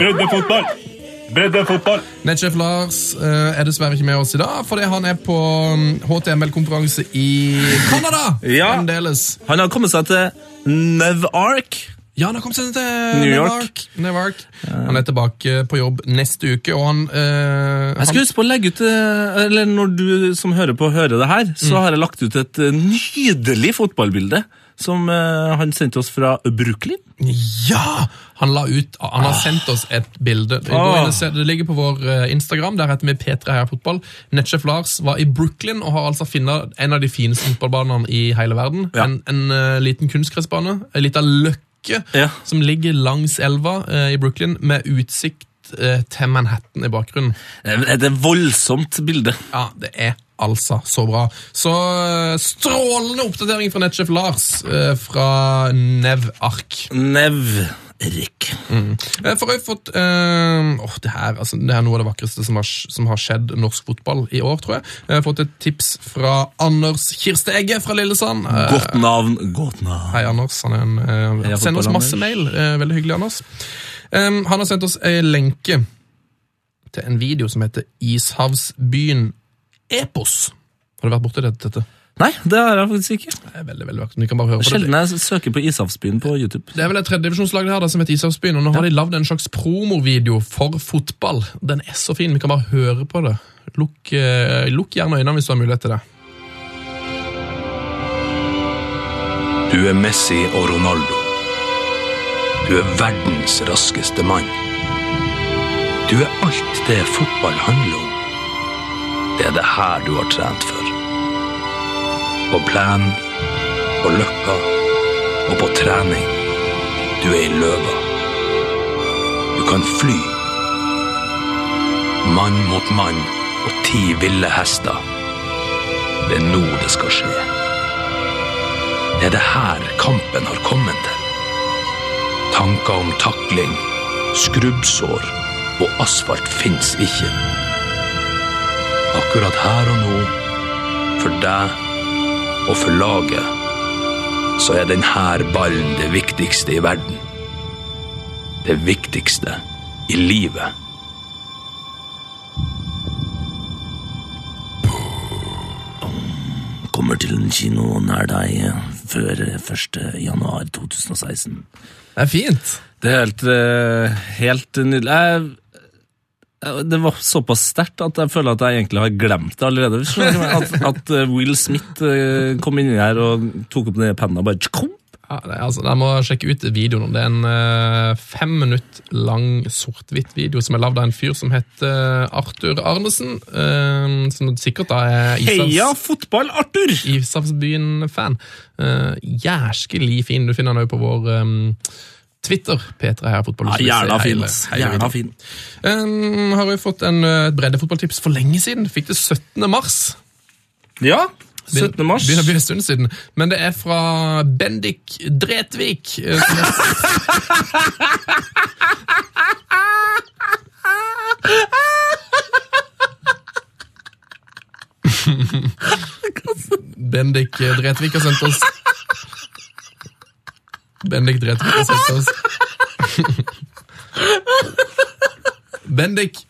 Breddefotball. Breddefotball. Nettsjef Lars eh, er dessverre ikke med oss i dag, fordi han er på mm, HTML-konferanse i Canada. Ja. Fremdeles. Han har kommet seg til Nevark. Ja, han har kommet seg til New Newark. Newark. Han er tilbake på jobb neste uke, og han, eh, Jeg han skal huske på å legge ut, eh, eller Når du som hører på, hører det her, så har jeg lagt ut et eh, nydelig fotballbilde som eh, han sendte oss fra Brooklyn. Ja! Han la ut, han har sendt oss et bilde. Gå Ah. inn og se, Det ligger på vår eh, Instagram. Der heter vi P3 Heia Fotball. Nettsjef Lars var i Brooklyn og har altså funnet en av de fineste fotballbanene i hele verden. Ja. En, en eh, liten kunstgressbane. En liten løkke Ja. som ligger langs elva eh, i Brooklyn, med utsikt eh, til Manhattan i bakgrunnen. Eh, Det er et voldsomt bilde. Ja, det er altså så bra. Så eh, strålende oppdatering fra nettsjef Lars eh, fra Nevark. Nev-Erik. Eh, For jeg har fått eh, åh, det, her, altså, det er noe av det vakreste som har, som har skjedd norsk fotball i år, tror jeg. Jeg har fått et tips fra Anders Kirstegge fra Lillesand. Eh, Godt navn, godt navn. Hei, Anders. Han er en, eh, Heia sender oss fotball, masse Anders. mail. Eh, veldig hyggelig, Anders. Em, han har sendt oss en lenke til en video som heter Ishavsbyen Epos. Har du vært borti det- dette? Nei, det har jeg faktisk ikke. Det er Eh, veldig, veldig vakkert. Vi kan bare høre på det. Sjelden jeg søker på Ishavsbyen på YouTube. Det er vel et tredjedivisjonslag det her da, som heter Ishavsbyen, og nå har de lagd en slags promovideo for fotball. Den er så fin, vi kan bare høre på det. Lukk, eh, lukk gjerne øynene hvis du har mulighet til det. Du er Messi og Ronaldo. Du er verdens raskeste mann. Du er alt det fotball handler om. Det er det her du har trent for. På plenen, på løkka og på trening. Du er i løva. Du kan fly. Mann mot mann og ti ville hester. Det er nå det skal skje. Det er det her kampen har kommet til. Tanker om takling, skrubbsår og asfalt fins ikke. Akkurat her og nå, for deg og for laget, så er denne ballen det viktigste i verden. Det viktigste i livet. Kommer til en kino nær deg før 1. januar 2016. Det er fint. Det er helt, eh, helt nydelig. Jeg, jeg- det var såpass sterkt at jeg føler at jeg egentlig har glemt det allerede. hvis du skjønner hva jeg mener. At, at eh, Will Smith eh, kom inn her og tok opp den penna og bare tjkom. Ja, det er, altså, Dere må sjekke ut videoen. Det er en eh, fem minutt lang sort-hvitt video som er lagd av en fyr som heter Arthur Arnesen, eh, som sikkert da er Ishavs... Heia fotball, Arthur! Ishavsbyen-fan. Uh, jæskelig fin. Du finner han òg på vår um, Twitter. P3 her, fotball. Ja, hvis du vil se Jævla fin, hele- ass. hele videoen. Jævla fin. Um, har jo fått en, uh, et breddefotballtips for lenge siden. Fikk det 17. mars. Ja, 17. mars. Begynner å bli en stund siden. Men det er fra Bendik Dretvik. uh, som er- Bendik uh, Dretvik har sendt oss Bendik Dretvik har sendt oss Bendik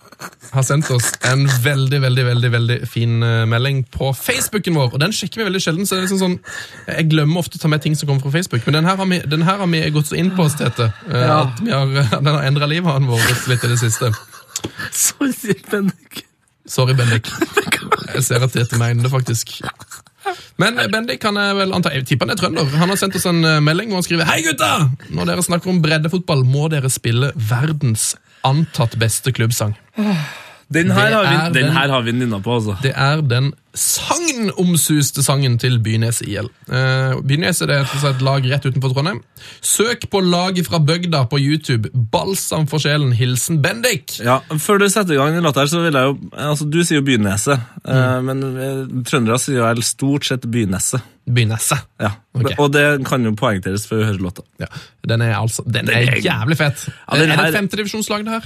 har sendt oss en veldig, veldig veldig, veldig fin eh, melding på Facebooken vår. Og den sjekker vi veldig sjelden. så det er liksom sånn, Jeg glemmer ofte å ta med ting som kommer fra Facebook. Men den her har vi, den her har vi gått så inn på oss, Tete. eh, At vi har, den har endra livet vårt litt i det siste. Sorry, Bendik. Sorry, Bendik. Jeg ser at Tete mener det, faktisk. Men eh, Bendik han er vel anta, jeg tipper han er trønder. Han har sendt oss en eh, melding hvor han skriver Hei, gutta! Når dere snakker om breddefotball, må dere spille verdens antatt beste klubbsang. Den her Det har er vi, den den- her har vi nynna på, altså. Det er den sagnomsuste sangen til Bynes IL. Uh, Bynes er det rett og slett et lag rett utenfor Trondheim. Søk på laget fra bygda på YouTube. Balsam for sjelen. Hilsen Bendik. Ja, Før du setter i gang den låta her, så vil jeg jo Altså, du sier jo Byneset, eh, men eh, trøndere sier vel stort sett Byneset. Bynese. Ja, Ok. Og det kan jo poengteres før vi hører låta. Ja, den er altså Den, er, er- jævlig fett. Ja, den er det her- femtedivisjonslag, det her?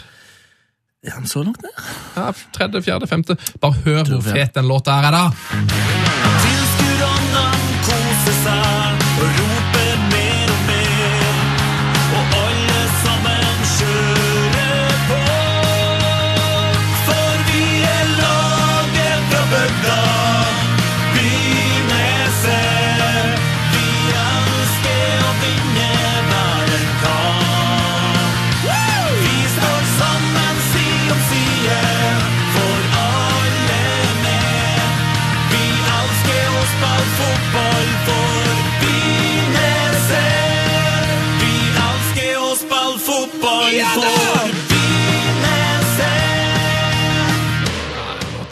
Er den så langt ned? Ja, Tredje, fjerde, femte. Bare hør hvor fjerde. fet den låta her er, da! Alle sammen kjører på.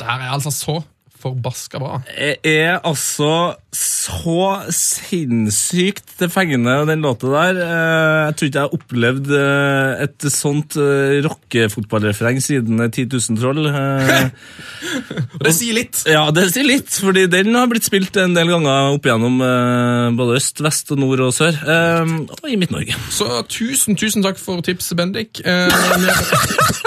her er altså så forbaska bra. Jeg er altså så sinnssykt til fengende, den låta der. Eh, Jeg tror ikke jeg har opplevd eh, et sånt eh, rockefotballrefreng siden eh, 10 000 troll. Eh, Og det sier litt. Ja, det sier litt, fordi den har blitt spilt en del ganger opp igjennom eh, både øst, vest, og nord og sør. eh, Og i Midt-Norge. Så tusen, tusen takk for tipset, Bendik. Eh, men-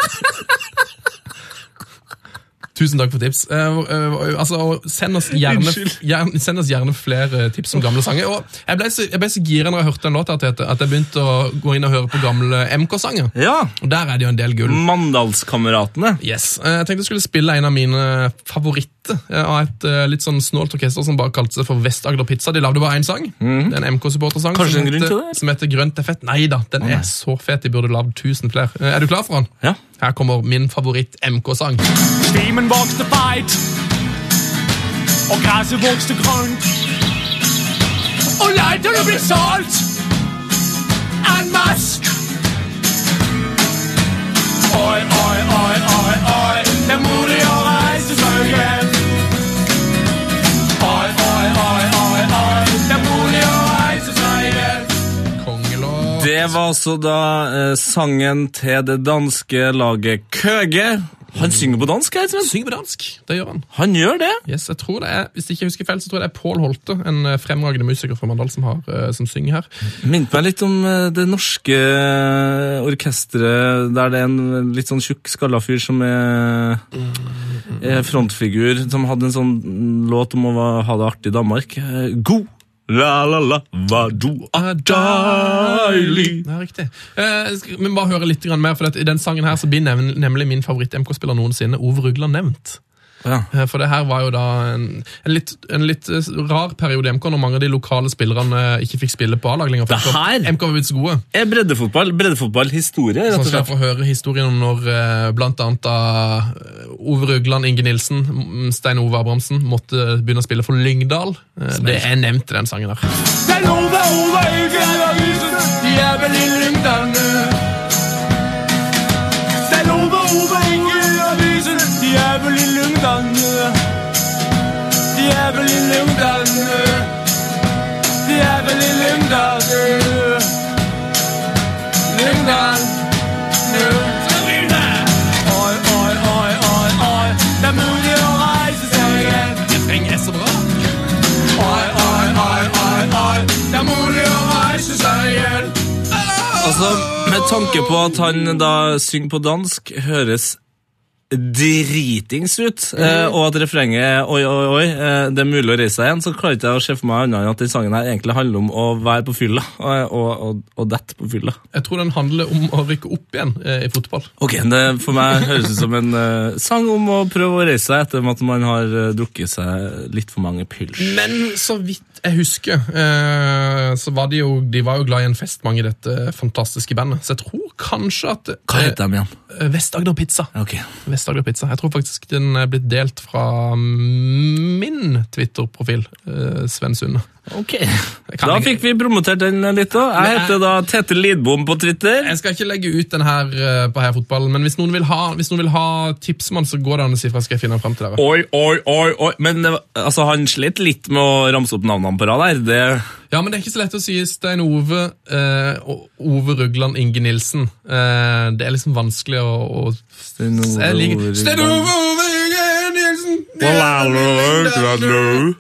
Tusen takk for tips. Eh, eh, altså, og send, oss gjerne, gjerne, send oss gjerne flere tips om gamle sanger. Og jeg ble så, jeg ble så gira når jeg hørte den låta, Tete, at jeg begynte å gå inn og høre på gamle MK-sanger. Ja, Og der er det jo en del gull. Mandalskameratene. Yes. Eh, Jeg tenkte jeg skulle spille en av mine favoritter eh, av et eh, litt sånn snålt orkester som bare kalte seg for Vest-Agder Pizza. De lagde bare én sang. Det er en MK-supportersang Mhm. Kanskje som, en grunn heter- til det? som heter Grønt er fett. Nei da, den er så fet. De burde lagd tusen flere. Eh, Er du klar for den? Ja. Her kommer min favoritt-MK-sang. Stemmen vokste breit, og græsset vokste grønt. Og leiterne ble solgt en masse. Oi, oi, oi, oi, oi, det er mulig å reise seg igjen. Oi, oi, oi, oi, oi, det er mulig å reise seg igjen. Kongelåt. Det var altså da eh, sangen til det danske laget Køge. Han synger på dansk, jeg, Sven. Synger på dansk. Det gjør han. Han gjør det. Yes, jeg tror det er, Hvis ikke jeg husker feil, så tror jeg det er Pål Holte, en eh, fremragende musiker fra Mandal, som, har, eh, som synger her. Minnet meg litt om eh, det norske eh, orkestret, der det er en litt sånn tjukk, skalla fyr som er, er frontfigur, som hadde en sånn låt om å va- ha det artig i Danmark. Eh, God! La, la, la, hva du er deilig! Ja, riktig. Eh, skal- men bare høre litt grann mer, for at i den sangen her så blir nevn, nemlig min favoritt-MK-spiller noensinne, Ove Rugland, nevnt. Ja. Eh, For det her var jo da en, en, litt, en litt eh, rar periode i MK, når mange av de lokale spillerne eh, ikke fikk spille på A-lag lenger. for Det her- MK var blitt så gode. Er breddefotball breddefotballhistorie, rett og Så Sånn skal jeg slett? få høre historien om når eh, blant annet da eh, Ove Rugland, Inge Nilsen, M- Stein Ove Abrahamsen måtte begynne å spille for Lyngdal. Eh, Det er nevnt i den sangen her. Det er Nova, Ova, ikke er avisen, de er vel i lyngdene. Det er Nova, Ova, ikke er avisen, de er vel i lyngdene. De er vel i lyngdene. De er vel i lyngdene. Lyngdene. Oi, oi, oi, oi, oi, det er mulig å reise seg igjen. Refrenget er så bra! Oi, oi, oi, oi, oi, det er mulig å reise seg igjen. Altså, med tanke på at han da synger på dansk, høres dritings ut, eh, og at refrenget er oi, oi, oi, eh, det er mulig å reise seg igjen, så klarer ikke jeg å se for meg annet enn at den sangen her egentlig handler om å være på fylla, og, og, og, og dette på fylla. Jeg tror den handler om å rykke opp igjen eh, i fotball. Ok, det for meg høres ut som en eh, sang om å prøve å reise seg etter at man har eh, drukket seg litt for mange pils. Men så vidt jeg husker, eh, så var de jo, de var jo glad i en fest, mange i dette fantastiske bandet. Så jeg tror kanskje at Hva heter de igjen? Eh, Vest-Agder Pizza. Ok. Vest-Agder Pizza. Jeg tror faktisk den er blitt delt fra min Twitter-profil, eh, Sven Sunde. kan Da ikke- fikk vi promotert den litt da. Jeg Men jeg- heter da Tete Lidbom på Twitter. Jeg skal ikke legge ut den her eh, på Heia Fotball, men hvis noen vil ha, hvis noen vil ha tips om den, så går det an å si fra, skal jeg finne den frem til dere. Oi, oi, oi, oi. Men det var- altså, han slet litt med å ramse opp navnene på rad her. Det, Ja, men det er ikke så lett å si Stein Ove eh, og Ove Rugland Inge Nilsen. Eh, det er liksom vanskelig å, å Stein Ove, Jeg liker- Ove Stein Rugland. Ove, Ove Inge Nilsen! Ja,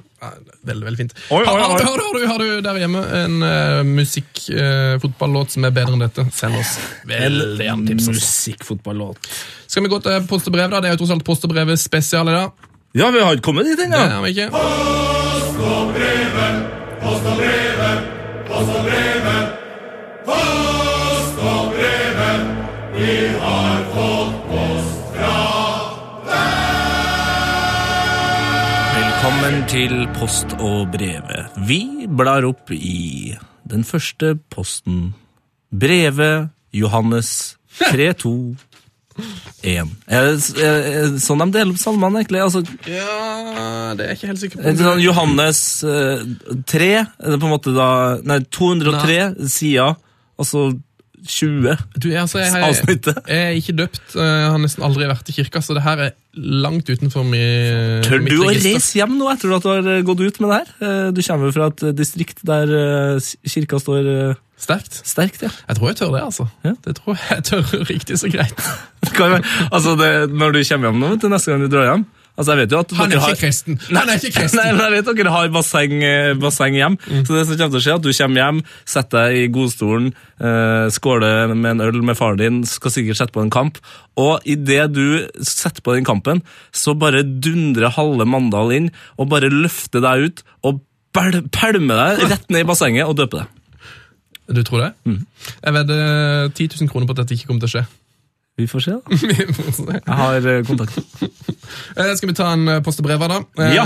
Veldig, veldig fint. Oi, oi, oi. Har, har, har, har, du, har du der hjemme en uh, musikkfotballåt som er bedre enn dette, send oss veldig gjerne tips. altså. Musikkfotballåt. Skal vi gå til post og brev, da? Det er jo tross alt post og brevet spesial i dag. Ja, vi har ikke kommet dit Det ennå. er vi ikke. Velkommen til Post og brevet. Vi blar opp i den første posten. Brevet Johannes 32. Er det Eh, s- er- er det sånn de deler opp salmene, egentlig? Altså, Ja, det er jeg ikke helt sikker Det er på. sånn Johannes eh, 3, er det på en måte da, nei, 203 sider, og så 20. Du, altså, jeg, jeg, Avsnittet. jeg er ikke døpt. eh, Jeg har nesten aldri vært i kirka, så det her er langt utenfor mi, Tør mitt du å register. reise hjem nå etter at du har eh, gått ut med det her? Eh, Du kommer jo fra et eh, distrikt der eh, s- kirka står eh, Sterkt. sterkt, ja. Jeg tror jeg tør det, altså. Ja. Det tror jeg jeg tør riktig så greit. Det kan være- altså det, når du kommer hjem nå, vet du, neste gang du drar hjem altså jeg vet jo at Han er dere ikke har- kristen. Han er ikke kristen. Nei, men jeg vet dere har basseng, eh, basseng hjem, så det som kommer til å skje er at du kommer hjem, setter deg i godstolen, eh, skåler med en øl med faren din, skal sikkert sette på en kamp, og i det du setter på den kampen, så bare dundrer halve Mandal inn, og bare løfter deg ut, og pel- pælmer deg rett ned i bassenget og døper deg. Du tror det? Mm. Jeg vedder 10 000 kroner på at dette ikke kommer til å skje. Vi får se da. Vi får se. Jeg har eh, kontakt. Eh, Skal vi ta en eh, post til brevet, da? Eh, Ja.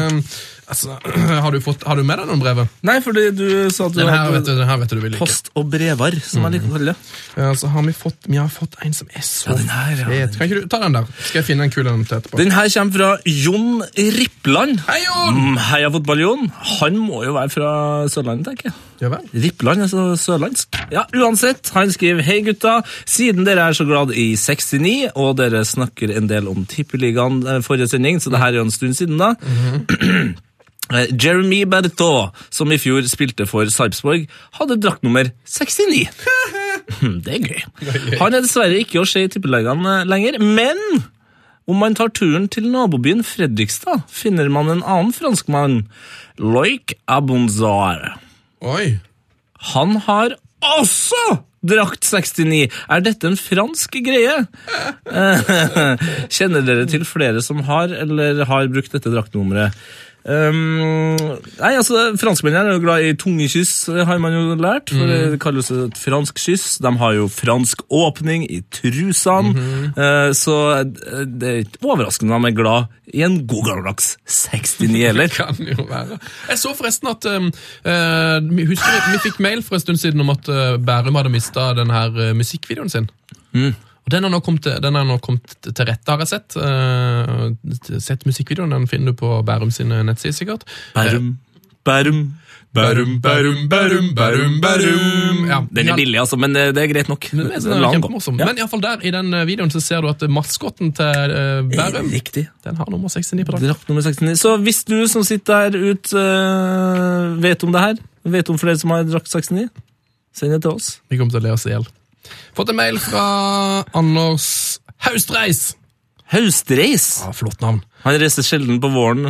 Altså, har, du fått, har du med deg noen brev? Nei, fordi du sa at du Den her, hadde vet du, den her vet du du vil like. post og brevar, som jeg liker å kalle det. Eh, Så har vi, fått, vi har fått en som er så Mm. Ja, den her, ja, fet. den- Kan ikke du ta den der? Skal jeg finne en kul en til etterpå? Den her kommer fra Jon Rippland. Hei, Jon! Mm, Heia fotball-Jon. Han må jo være fra Sørlandet, tenker jeg. Ja vel. Rippland er så sørlandsk. Ja, Uansett, han skriver Hei gutta, siden dere er så glad i 69, og dere snakker en del om Tippeligaen eh, forrige sending, så det her er jo en stund siden da. Mhm. Eh, Jeremy Bertot, som i fjor spilte for Sarpsborg, hadde draktnummer 69. Hmm, Det er gøy. Han er dessverre ikke å se i tippeligaen eh, lenger, men om man tar turen til nabobyen Fredrikstad, finner man en annen franskmann, Loic Abonzar. Oi. Han har også drakt 69. Er dette en fransk greie? Eh, Kjenner dere til flere som har eller har brukt dette draktnummeret? Um, nei, altså Franskmennene er jo glad i tunge kyss, eh, har man jo lært. For Det kalles jo et fransk kyss. De har jo fransk åpning i trusene. eh, så eh, det er ikke overraskende de er glad i en god gammeldags 69 heller. Kan jo være. Jeg så forresten at um, eh, vi Husker vi, vi fikk mail for en stund siden om at eh, Bærum hadde mista den her eh, musikkvideoen sin. Og Den har nå kommet til, den har nå kommet til rette, har jeg sett. Eh, sett musikkvideoen, Den finner du på Bærum sine nettsider, sikkert. Bærum, bærum, Bærum, bærum, bærum, bærum, bærum. Ja, Den er ja, billig, altså, men eh, det er greit nok. Den er, den La er den gå. kjempemorsom. Ja. Men i alle fall der, i den eh, videoen så ser du at eh, maskotten til eh, Bærum Riktig. den har nummer 69 på dagen. Drakt nummer 69. Så hvis du som sitter der ute eh, vet om det her, vet om flere som har drakt 69, send det til oss. Vi kommer til å le oss i hjel. Fått en mail fra Anders Haustreis. Haustreis! Ja, Flott navn. Han reiser sjelden på våren.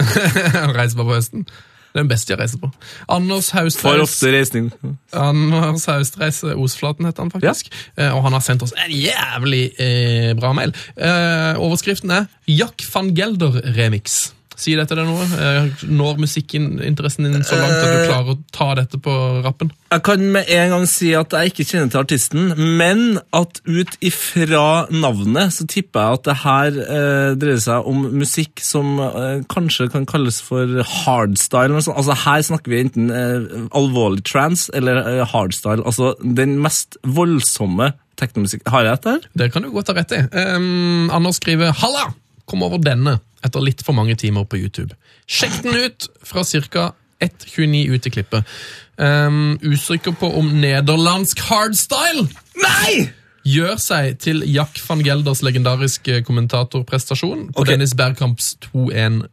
Han reiser bare på høsten. Det er den beste jeg reiser på. Anders For Haustreis, ofte reisning. Anders Haustreis eh, Osflaten heter han faktisk. Eh, Og han har sendt oss en jævlig eh, bra mail. Eh, overskriften er Jack van Gelder-remix. Sier dette deg noe? Eh, når musikkinteressen din så langt Eh, at du klarer å ta dette på rappen? Jeg kan med en gang si at jeg ikke kjenner til artisten, men at ut ifra navnet så tipper jeg at det her eh, dreier seg om musikk som eh, kanskje kan kalles for hardstyle. Eller noe sånt. Altså Her snakker vi enten eh, alvorlig trans eller eh, hardstyle. Altså den mest voldsomme teknomusikk. Har jeg dette her? Det kan du godt ha rett i. Ehm, Anders skriver Halla! Kom over denne etter litt for mange timer på YouTube. Sjekk den ut fra ca. 1.29 ut i klippet. Ehm, usikker på om nederlandsk hardstyle Nei! gjør seg til Jack van Gelders legendariske kommentatorprestasjon på Ok. Dennis Bergkamps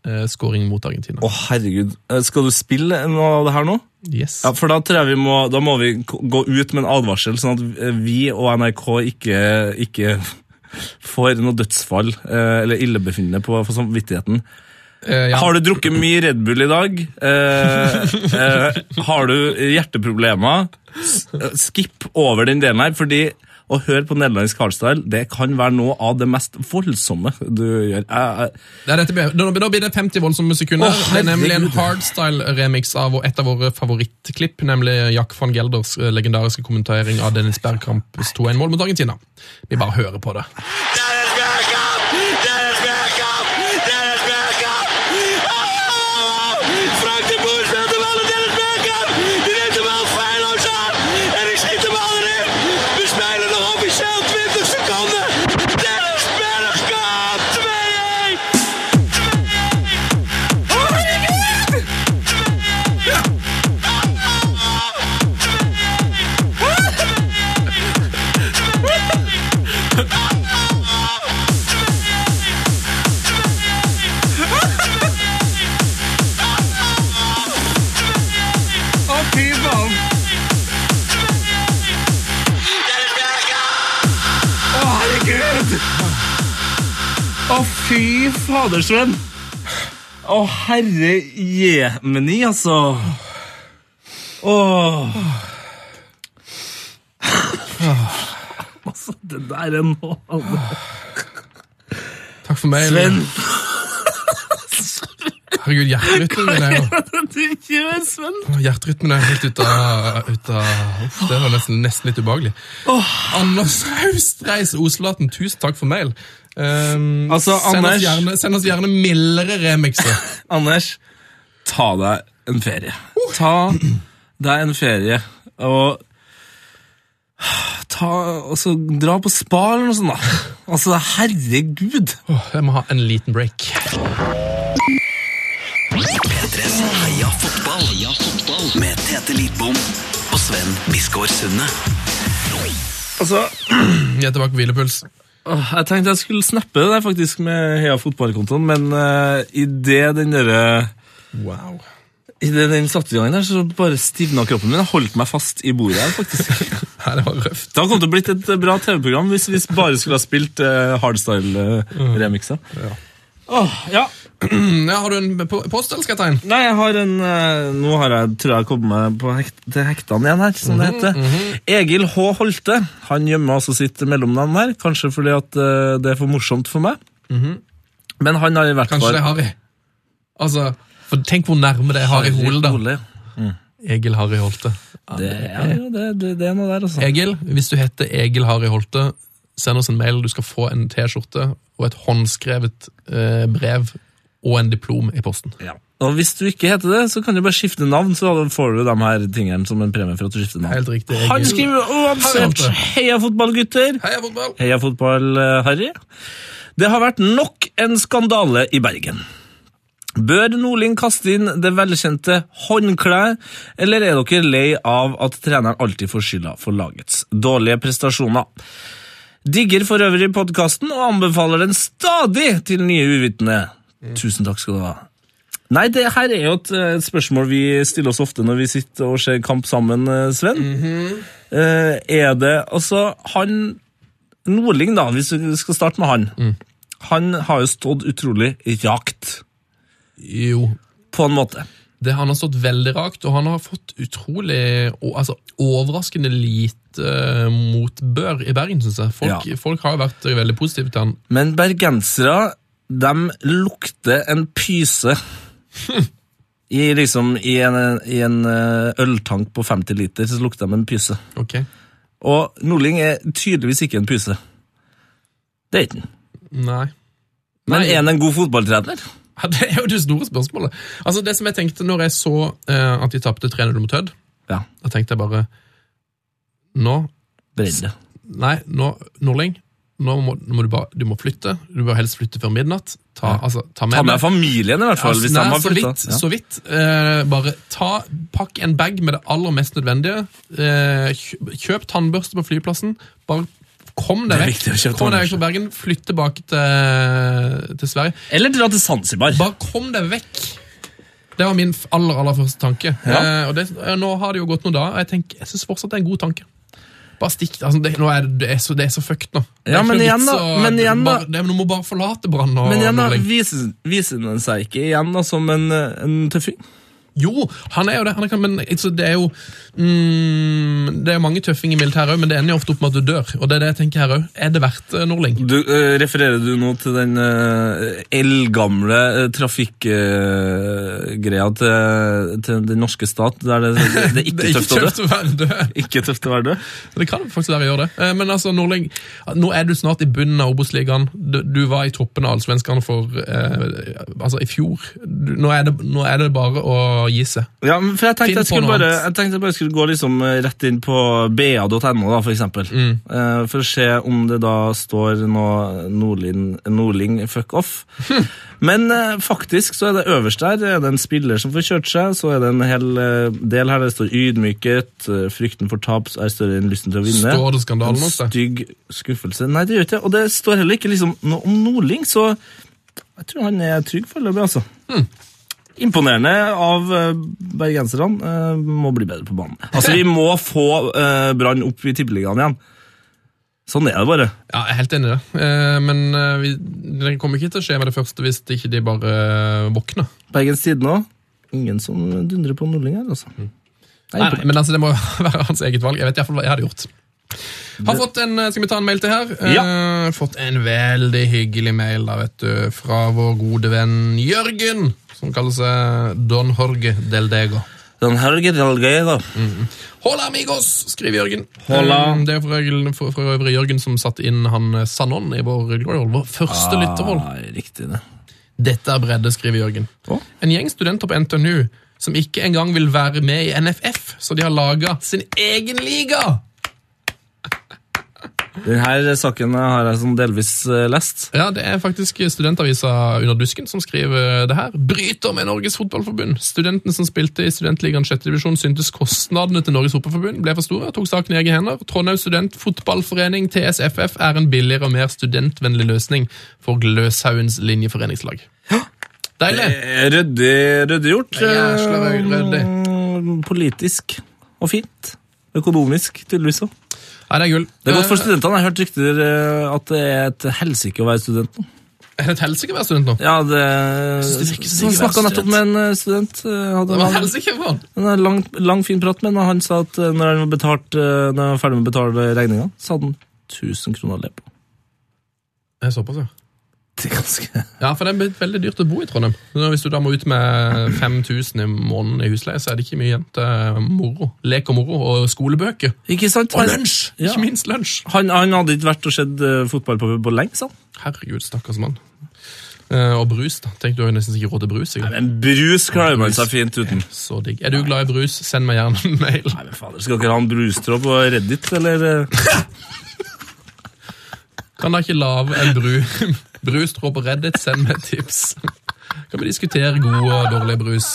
2-1-skåring mot Argentina. Å, herregud. Eh, Skal du spille noe av det her nå? Yes. Ja, for da tror jeg vi må, da må vi k- gå ut med en advarsel, sånn at vi og NRK ikke, ikke får noe dødsfall eh, eller illebefinnende på for samvittigheten. Eh, ja. Har du drukket mye Red Bull i dag? Eh, eh, har du hjerteproblemer? S- eh, Skipp over den delen her, fordi å høre på nederlandsk hardstyle det kan være noe av det mest voldsomme du gjør. Jeg- jeg- Det er dette, blir- nå, nå blir det 50 voldsomme sekunder. Å, det er nemlig en herregud. hardstyle-remix av et av våre favorittklipp, nemlig Jack van Gelders eh, legendariske kommentering av Dennis Bergkamps 2-1-mål mot Argentina. Vi bare hører på det. Yeah. Å, fy fader, Sven. Å, herre jemeni, altså. Åh. Altså, det der er nå Takk for meg. Sven, Herregud, hjerterytmen min er jo hva er det du gjør, Sven? Hjerterytmen er helt ut av, ut av uff, Det var nesten, nesten litt ubehagelig. Anders Haustreis Oselaten, tusen takk for mail. Um, Altså, send, oss Anders- gjerne, send oss gjerne mildere remixer. Anders, ta deg en ferie. Ta deg en ferie, og ta, altså, dra på spa eller noe sånt, da. Altså, herregud. Åh, jeg må ha en liten break. P3s Heia fotball. Heia fotball. Med Tete Lidbom og Sven Biskår Sunde. Altså, Jeg er tilbake på hvilepuls. Åh, Jeg tenkte jeg skulle snappe det der faktisk med Heia fotballkontoen, men uh, i det den der, Wow. i det den satte i gang der, så bare stivna kroppen min. Jeg holdt meg fast i bordet her, faktisk. Nei, det var røft. det hadde kommet til å blitt et eh, bra TV-program hvis vi bare skulle ha spilt eh, hardstyle-remixer. Mm. Ja. ja. Mm, Ja, har du en po- post, eller skal jeg ta en? Nei, jeg har en eh, Nå har jeg, tror jeg kommet meg på hekt, til hektene igjen her, som det Mhm, heter. Egil H. Holte. Han gjemmer altså sitt mellomnavn her, kanskje fordi at eh, det er for morsomt for meg. Men han har i hvert Mhm. Kanskje fall det er Harry. Altså, for tenk hvor nærme det er Harry Hole, da. Hole, ja. Egil Harry Holte. Det, ja, ja, det, det, det er noe der, altså. Egil, hvis du heter Egil Harry Holte, send oss en mail. Du skal få en T-skjorte og et håndskrevet eh, brev og en diplom i posten. Ja. Og hvis du ikke heter det, så kan du bare skifte navn, så får du de her tingene som en premie for at du skifter navn. Helt riktig, Egil. Han skriver uansett Harry. Heia fotball, gutter! Heia fotball! Heia fotball, eh, Harry. Det har vært nok en skandale i Bergen. Bør Nordling kaste inn det velkjente håndkleet, eller er dere lei av at treneren alltid får skylda for lagets dårlige prestasjoner? Digger for øvrig podkasten og anbefaler den stadig til nye uvitende. Tusen takk skal du ha. Nei, det her er jo et, eh, et spørsmål vi stiller oss ofte når vi sitter og ser kamp sammen, eh, Sven. Eh, Er det Altså, han Nordling, da, hvis vi skal starte med han. Han har jo stått utrolig rakt, Jo, på en måte. det, han har stått veldig rakt, og han har fått utrolig og- altså, overraskende lite eh, motbør i Bergen, syns jeg. Folk, Ja. folk har jo vært veldig positive til han. Men bergensere, de lukter en pyse i, liksom, i, en, i en eh, øltank på 50 liter, så lukter de en pyse. Ok. Og Nordling er tydeligvis ikke en pyse. Det er ikke han. Nei. Men Nei. er han en god fotballtrener? Ja, det er jo det store spørsmålet. Altså, det som jeg tenkte når jeg så eh, at de tapte 3-0 mot Hødd, Ja. da tenkte jeg bare Nå Bredde. Nei, nå, Nordling, nå må, nå må du bare du må flytte. Du bør helst flytte før midnatt. Ta, altså, ta med Ta med deg- familien, i hvert fall. Altså, hvis nei, de har så flyttet. vidt. Ja. Så vidt. Eh, bare ta, pakk en bag med det aller mest nødvendige. Eh, kjøp, kjøp tannbørste på flyplassen. Bare kom deg Det er vekk viktig å kjøpe Kom deg vekk fra Bergen. Flytt tilbake til, til Sverige. Eller dra til Zanzibar. Bare kom deg vekk! Det var min f- aller aller første tanke. Ja. Eh, og det, eh, nå har det jo gått noen dager, og jeg, tenker, jeg syns fortsatt det er en god tanke. Bare stikk, altså det, nå er det, det, er så, det er så fucked nå. Det er Ja, ikke men noe igjen vits da, å- men du igjen da. bare- det- men Du må bare forlate Brann. og- Men igjen da, og legge- viser, viser den seg ikke igjen da, som en, en tøffing? Jo, han er jo det, han er, kan- men altså, det er jo mm, Det er mange tøffinger i militæret òg, men det ender jo ofte opp med at du dør. Og det er det jeg tenker her òg. Er det verdt eh, Nordling? Du, eh, refererer du nå til den eh, eldgamle eh, trafikkgreia til, til den norske stat, der det, det er ikke tøft å dø? tøft å være død. Ikke tøft å være død? Det kan faktisk være å gjøre det. Eh, Men altså, Norling, nå er du snart i bunnen av Obos-ligaen. Du, du var i toppen av allsvenskene for eh, Altså, i fjor. Du, nå, er det, nå er det bare å gi seg. Ja, men for jeg Finn tenkte jeg, på skulle noe bare, annet. jeg tenkte jeg bare skulle gå liksom eh, rett inn på ba.no, da, for eksempel. Mm. Eh, for å se om det da står noe Nordlin, Nordling fuck off. Men eh, faktisk så er det øverst der er det en spiller som får kjørt seg. Så er det en hel eh, del her der det står ydmyket, eh, frykten for tap er større enn lysten til å vinne. Står det skandalen En hos deg? Stygg skuffelse. Nei, det gjør ikke det. Og det står heller ikke liksom noe om Nordling, så jeg tror han er trygg foreløpig, altså. Imponerende av eh, bergenserne. eh, Må bli bedre på banen. Altså, Vi må få eh, Brann opp i tippeligaen igjen. Sånn er det bare. Ja, jeg er helt enig i det. Eh, Men eh, vi, det kommer ikke til å skje med det første hvis ikke de bare eh, våkner. Bergens Tidende òg. Ingen som dundrer på nulling her, altså. Nei, nei, men altså, det må jo være hans eget valg. Jeg vet i hvert fall hva jeg hadde gjort. Har fått en, eh, Skal vi ta en mail til her? Eh, fått en veldig hyggelig mail da, vet du, fra vår gode venn Jørgen, som kaller seg Don Jorge del Dego. Den helgen er det gøy, da. Hola amigos, skriver Jørgen. Hola. Eh, Det er for øvrig- for for øvrig Jørgen som satte inn han eh, Sanon i vår Glory Hall, vår første lytterhold. Ah, riktig det. Dette er bredde, skriver Jørgen. Å? En gjeng studenter på NTNU som ikke engang vil være med i NFF, så de har laga sin egen liga! Denne saken har jeg sånn delvis eh, lest. Ja, Det er faktisk studentavisa Under Dusken som skriver det her. Bryter med Norges Fotballforbund. Studentene som spilte i Studentligaen 6. divisjon syntes kostnadene til Norges Fotballforbund ble for store og tok saken i egne hender. Trondheim Studentfotballforening, TSFF, er en billigere og mer studentvennlig løsning for Gløshaugens linjeforeningslag. Deilig! Eh, Ryddig ryddig gjort. Jæsla røy- ryddig. Mm, Politisk og fint. Økonomisk, tydeligvis òg. Nei, det er gull. Det er godt for Eh, studentene. Jeg har hørt rykter eh, at det er et helsike å være student nå. Er det et helsike å være student nå? Ja, det det virker som Jeg ikke å være snakka nettopp med en eh, student. eh, Hadde, Det var et hadde, helsike for han. en lang, lang, fin prat med ham, og han sa at eh, når han var, betalt, eh, når han var ferdig med å betale regninga, så hadde han 1000 kroner å leve på. Det er såpass, ja. Det er ganske... Ja, for det er blitt veldig dyrt å bo i Trondheim. Nå, Hvis du da må ut med 5000 i måneden i husleie, så er det ikke mye igjen til eh, moro. Lek og moro, og skolebøker. Ikke sant? Og lunsj! Ja. Ikke minst lunsj. Han, han hadde ikke vært og sett eh, fotball på, på lenge, sa han. Herregud, stakkars mann. Eh, og brus, da. Tenk, du har jo nesten ikke råd til brus. Ikke? Men brus klarer man seg fint uten. Så digg. Er du glad i brus, send meg gjerne en mail. Nei, men fader, Skal dere ha en brustråd på Reddit, eller? eh? Kan da ikke lage en bru, brustrå på Reddit, send meg tips. Kan vi diskutere god og dårlig brus?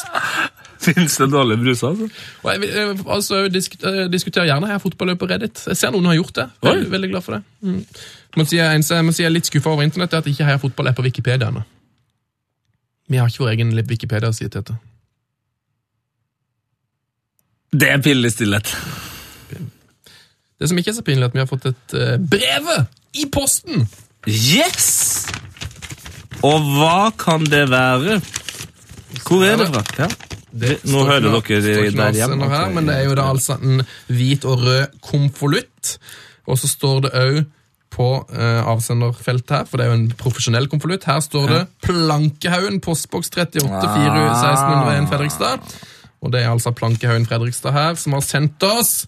Finnes det dårlige bruser, altså? Og jeg vil, eh, altså, disk, eh, diskuter gjerne her fotballøp på Reddit. Jeg ser noen har gjort det. Jeg er Oi. veldig glad for det. Mm. Man sier, en, man sier jeg er litt skuffa over internett, er at ikke Heia Fotball er på Wikipedia ennå. Vi har ikke vår egen Wikipedia-side til dette. Det er pinlig stillhet. Det som ikke er så pinlig, er at vi har fått et eh, brev i posten! Yes! Og hva kan det være? Hvor er det fra? Ja. Det Nå står hører ikke noe- dere står ikke noe der hjemme. avsender Her, men det er jo da altså en hvit og rød konvolutt. Og så står det òg på eh, avsenderfeltet her, for det er jo en profesjonell konvolutt. Her står det 'Plankehaugen, postboks 38 Ah. 41601 Fredrikstad'. Og det er altså Plankehaugen Fredrikstad her som har sendt oss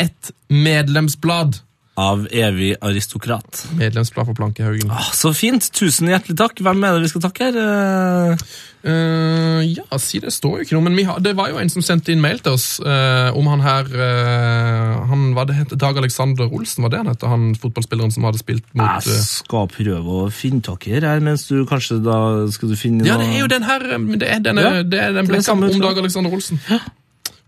et medlemsblad. Av evig aristokrat. Medlemsblad for Plankehaugen. Ah, så fint! Tusen hjertelig takk. Hvem er det vi skal takke her? Eh, Eh, ja, si det står jo ikke noe, men vi har, det var jo en som sendte inn mail til oss eh, om han her eh, Han, hva det heter, Dag Alexander Olsen, var det han het? Han fotballspilleren som hadde spilt mot Jeg eh, skal prøve å finne tak i her, her, mens du kanskje da skal du finne Ja, noe- det er jo den her eh, men Det er, denne, Ja, det er den blekka samme om utslag. Dag Alexander Olsen.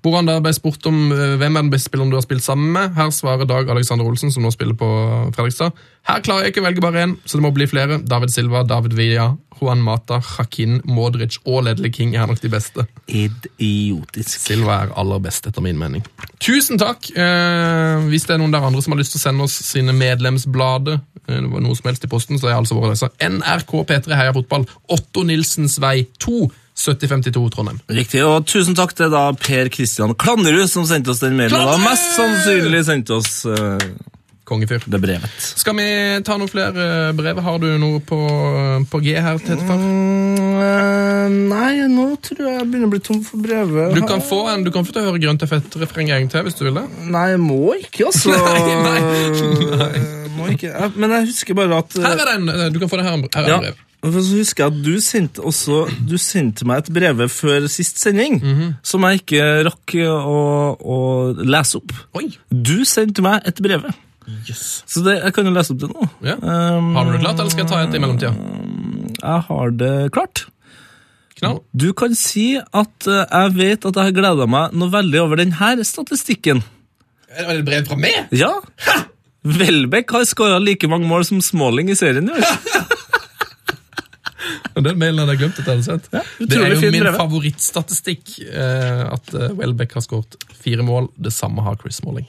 Hvor han da ble spurt om eh, hvem er den beste spilleren du har spilt sammen med. Her svarer Dag Alexander Olsen, som nå spiller på Fredrikstad. Her klarer jeg ikke å velge bare én, så det må bli flere. David Silva, David Villa, Juan Mata, Hakin, Modric og Ledley King er nok de beste. idiotisk. Silva er aller best, etter min mening. Tusen takk! Eh, hvis det er noen der andre som har lyst til å sende oss sine medlemsblader, eh, noe som helst i posten, så er altså vår adresse NRK P3 Heia Fotball, Otto Nilsens vei 2, 7052 Trondheim. Riktig, og tusen takk til da Per Kristian Klanderud som sendte oss den mailen. Da. Klanderud! Mest sannsynlig sendte oss eh, Kongefyr. det brevet. Skal vi ta noen flere eh, brev? Har du noe på, eh, på G her, Tettefar? Mm, eh, nei, nå tror jeg jeg begynner å bli tom for brevet. Du kan få en, du kan få til å høre Grønt til fett-refreng en gang til, hvis du vil det. Nei, jeg må ikke, altså. Eh, Nei, Må ikke. Jeg- Men jeg husker bare at eh, Her er den! eh, Du kan få det her, her er ja. en brev. For så husker jeg at du sendte, også, du sendte meg et brev før sist sending Mhm. som jeg ikke rakk å, å lese opp. Oi! Du sendte meg et brev. Så det, jeg kan jo lese opp det nå. Ja. Um, Har du det klart, eller skal jeg ta et i mellomtida? Jeg har det klart. Knall. Du kan si at eh, jeg vet at jeg har gleda meg noe veldig over denne statistikken. Er det et brev fra meg? Ja. Welbeck har skåra like mange mål som Smalling i serien. i år. Ja, Den mailen hadde jeg glemt. at jeg hadde sett. det utrolig er jo fin min brevet. favorittstatistikk eh, at eh, Welbeck har skåret fire mål. Det samme har Chris Smalling.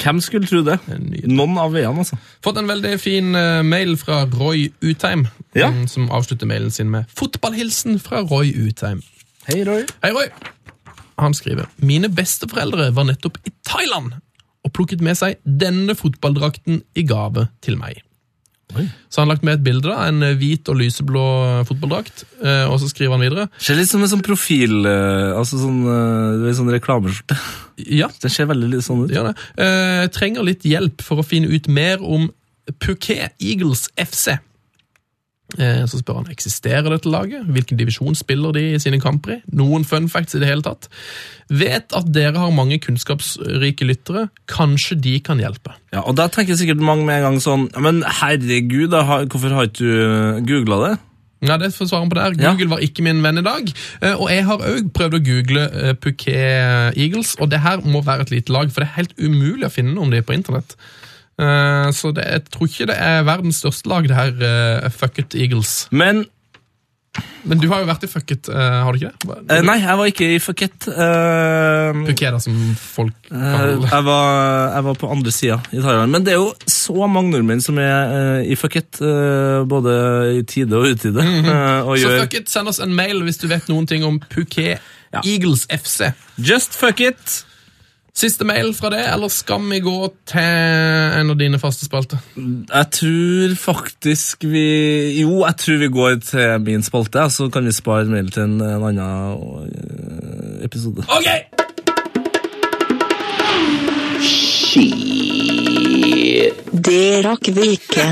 Hvem skulle tro det? Nydelig. Noen av veiene, altså. Fått en veldig fin eh, mail fra Roy Utheim, Ja. mm, som avslutter mailen sin med 'Fotballhilsen fra Roy Utheim'. Hei, Roy. Hei, Roy! Han skriver Mine besteforeldre var nettopp i Thailand og plukket med seg denne fotballdrakten i gave til meg. Så han har lagt med et bilde av en hvit og lyseblå fotballdrakt. eh, Og så skriver han videre Ser litt som en sånn profil eh, Altså sånn, eh, du vet, sånn reklameskjorte. Ja, Det ser veldig litt sånn ut. gjør det. Eh, trenger litt hjelp for å finne ut mer om Phuket Eagles FC. Eh, Så spør han eksisterer dette laget, hvilken divisjon spiller de i sine kamper i, noen fun facts i det hele tatt. Vet at dere har mange kunnskapsrike lyttere, kanskje de kan hjelpe. Ja, og da tenker sikkert mange med en gang sånn «Ja, Men herregud, da, har- hvorfor har ikke du googla det? Ja, det får svaren på der. Ja. Google var ikke min venn i dag. Eh, Og jeg har òg prøvd å google eh, Phuket Eagles, og det her må være et lite lag, for det er helt umulig å finne noe om de på internett. Eh, Så det, jeg tror ikke det er verdens største lag, det her eh, Fucket Eagles. Men Men du har jo vært i Fucket, eh, har du ikke det? eh, Nei, jeg var ikke i Phuket. Eh, Phuket, da, som folk Eh, kaller det. jeg, var, jeg var på andre sida i Thailand. Men det er jo så mange nordmenn som er eh, i Phuket, eh, både i tide og utide. eh, og Mhm. Så gjør fuck it, send oss en mail hvis du vet noen ting om Phuket Eagles FC. Just fuck it! Siste mail fra det, eller skal vi gå til en av dine faste spalter? Jeg tror faktisk vi Jo, jeg tror vi går til min spalte, ja, så kan vi spare mail til en, en annen eh, episode. Ok! Det rakk vi ikke.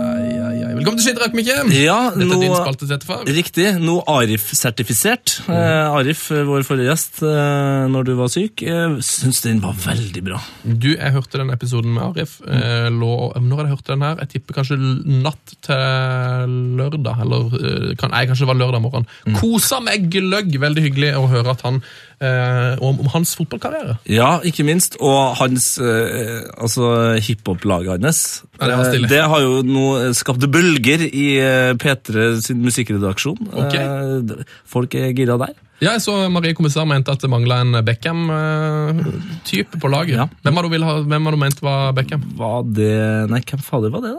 Ai, ai, ai. Velkommen til Skitterakk, Mikke. Ja, Dette er din nå spalte Mhm. til etterfra. Riktig. Nå Arif-sertifisert. Eh, Arif, eh, vår forrige gjest, eh, når du var syk, eh, syns den var veldig bra. Du, jeg hørte den episoden med Arif. Eh, lå, når hadde jeg hørt den her? Jeg tipper kanskje l- natt til lørdag, eller eh, kan, nei, kanskje det var lørdag morgen. Kosa meg gløgg! Veldig hyggelig å høre at han, eh, om, om hans fotballkarriere. Ja, ikke minst. Og hans eh, altså hiphop-laget hans. Ja, det var stille. Eh, det har jo nå eh, skapt bølger i eh, P3 sin musikkredaksjon. Ok. Eh, d- folk er gira der. Ja, jeg så Marie Kommissær mente at det mangla en Beckham-type på laget. Ja. Hvem har du, vil ha, hvem har du ment var Beckham? Var det Nei, hvem fader var det, da?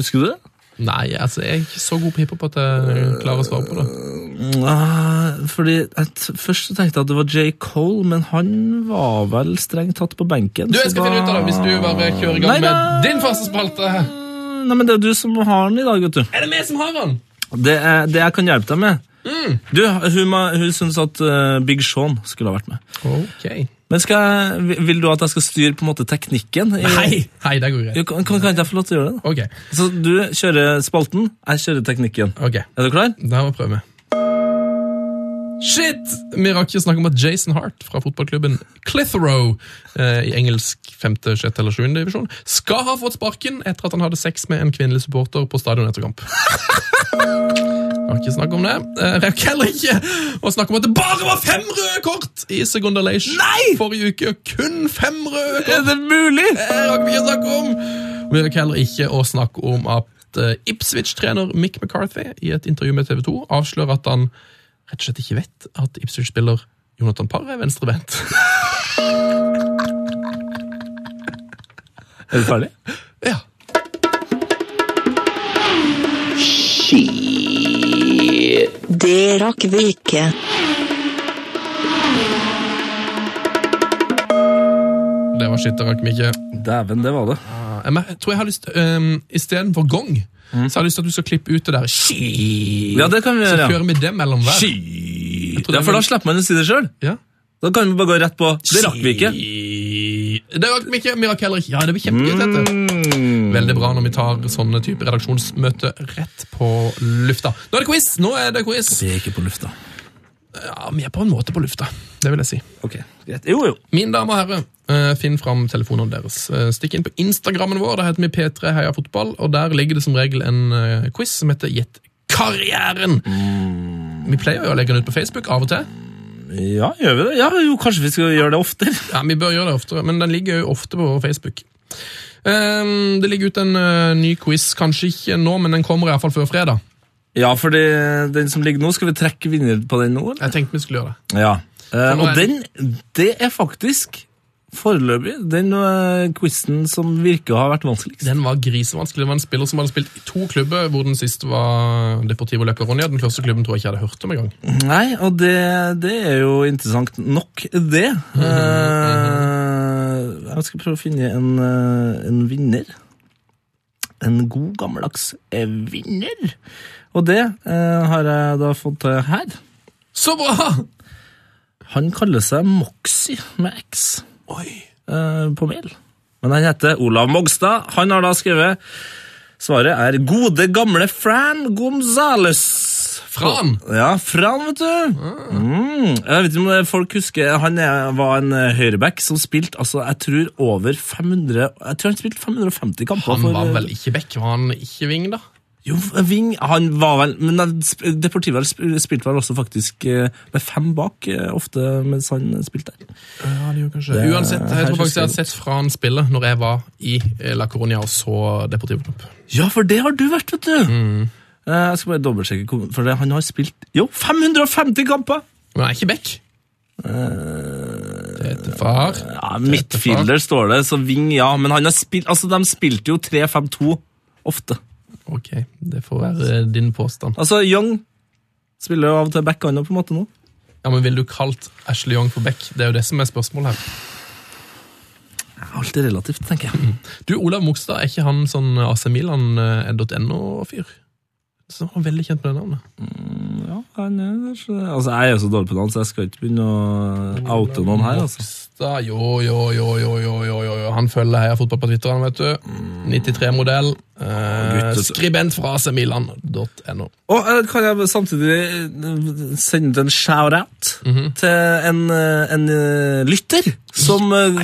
Husker du det? Nei, altså, jeg er ikke så god på hiphop at jeg klarer å svare på det. Nei, Ah, fordi jeg t Først så tenkte jeg at det var J. Cole, men han var vel strengt tatt på benken. Du, jeg så skal da- finne ut av det hvis du bare kjører i gang Nei, da- med din faste spalte. Nei, men Det er jo du som har den i dag, vet du. Er det vi som har den? Det, er, det jeg kan hjelpe deg med Du, Hun, ma- hun syns at eh, Big Sean skulle ha vært med. Ok. Men skal jeg, vil- Vil du at jeg skal styre på en måte teknikken? i- Hei, det går Jo, greit. Kan, kan kan ikke jeg få lov til å gjøre det? da? Ok, Så Du kjører spalten, jeg kjører teknikken. ok. Er du klar? Da må vi prøve. Shit! Vi rakk ikke å snakke om at Jason Hart fra fotballklubben Clitheroe eh, i engelsk 5., 6. eller 7. divisjon skal ha fått sparken etter at han hadde sex med en kvinnelig supporter på stadion etter kamp. Rakk ikke snakke om det. Eh, Rakk heller ikke å snakke om at det bare var fem røde kort i Segunda Leish forrige uke. og Kun fem røde kort! Er det mulig? Det rakk vi ikke å snakke om. Vi rakk heller ikke å snakke om at eh, Ipswich-trener Mick McCarthy i et intervju med TV 2 avslører at han rett og slett ikke vet at Ipswich-spiller Jonathan Parr er venstrebeint. Er du ferdig? ja. Det rakk vi ikke. Det var shit, det rakk vi ikke. Dæven, det var det. Eh, men Jeg tror jeg har lyst um, Istedenfor gong så har jeg lyst til at du skal klippe ut det der Ski! Mm. Ja, det kan vi Så gjøre. ja. kjører vi det mellom hver. Ski. tror det Ja, for var- da slipper man å si det sjøl. Ja. Da kan vi bare gå rett på Det rakk vi ikke. Det rakk vi ikke. Vi rakk heller ikke. Ja, det blir kjempegøy. dette. Mm. Veldig bra når vi tar sånne type redaksjonsmøte rett på lufta. Nå er det quiz! Nå er det quiz. Det er ikke på lufta. Ja, Vi er på en måte på lufta, det vil jeg si. Ok, greit. Jo, jo. Mine damer og herrer, eh, finn fram telefonene deres. Eh, Stikk inn på Instagrammen vår, der heter vi P3 Heia Fotball, og der ligger det som regel en eh, quiz som heter Gjett karrieren. Vi pleier jo å legge den ut på Facebook av og til. Ja, gjør vi det? Ja, jo, kanskje vi skal gjøre det oftere. Ja, Vi bør gjøre det oftere, men den ligger jo ofte på vår Facebook. Ehm, det ligger ut en eh, ny quiz, kanskje ikke nå, men den kommer iallfall før fredag. Ja, for den som ligger nå, skal vi trekke vinner på den nå? eller? Jeg tenkte vi skulle gjøre det. Ja. Eh, og den, det er faktisk foreløpig den uh, quizen som virker å ha vært vanskeligst. Den var grisevanskelig. Det var en spiller som hadde spilt i to klubber, hvor den siste var Deportivo Løkkeronia. Den første klubben tror jeg ikke jeg hadde hørt om engang. Nei, og det, det er jo interessant nok, det. Mhm, Eh, jeg skal prøve å finne en, eh, en vinner. En god, gammeldags eh, vinner. Og det eh, har jeg da fått til her. Så bra! Han kaller seg Moxie med X Oi. eh, på mail. Men han heter Olav Mogstad. Han har da skrevet Svaret er 'Gode, gamle Fran Gonzales'. Fran? Ja, Fran, vet du. Mm. Jeg vet ikke om det er folk husker Han er, var en eh, høyreback som spilte altså, jeg tror over 500 Jeg tror han spilte 550 kamper. Han for, var eh, vel ikke back, var han ikke wing, da? Jo, Ving Han var vel Men han sp- Deportivo har sp- spilte vel også faktisk eh, med fem bak, eh, ofte mens han spilte der. Ja, det gjorde kanskje Det- Uansett, her jeg tror faktisk husker jeg har sett fra han spille når jeg var i eh, La Coronia og så Deportivo Club. Ja, for det har du vært, vet du! Mm. Eh, Jeg skal bare dobbeltsjekke, hvor- for det- han har spilt jo 550 kamper! Men han er ikke back. Det heter far. Ja, Midtfielder står det, så Ving, ja. Men han har spilt, altså, de spilte jo 3-5-2 ofte. Ok, det får være eh, din påstand. Altså, Young spiller jo av og til back han også, på en måte nå. Ja, men Ville du kalt Ashley Young for back? Det er jo det som er spørsmålet her. Alt er relativt, tenker jeg. Du, Olav Mogstad, er ikke han sånn AC eh, Milan.no-fyr? Som var veldig kjent med det navnet. Ja, han er, altså, jeg er jo så dårlig på navn, så jeg skal ikke begynne å oute noen her, altså. Mogstad, Ah, jo, jo, jo, jo, jo, jo, jo, jo. Han følger Heia Fotball på Twitter, han, vet du. 93-modell. Eh, gutt, vet du. skribent fra acmilan.no. Og eh, kan jeg samtidig eh, sende ut en shout-out til en, eh, en eh, lytter som, eh,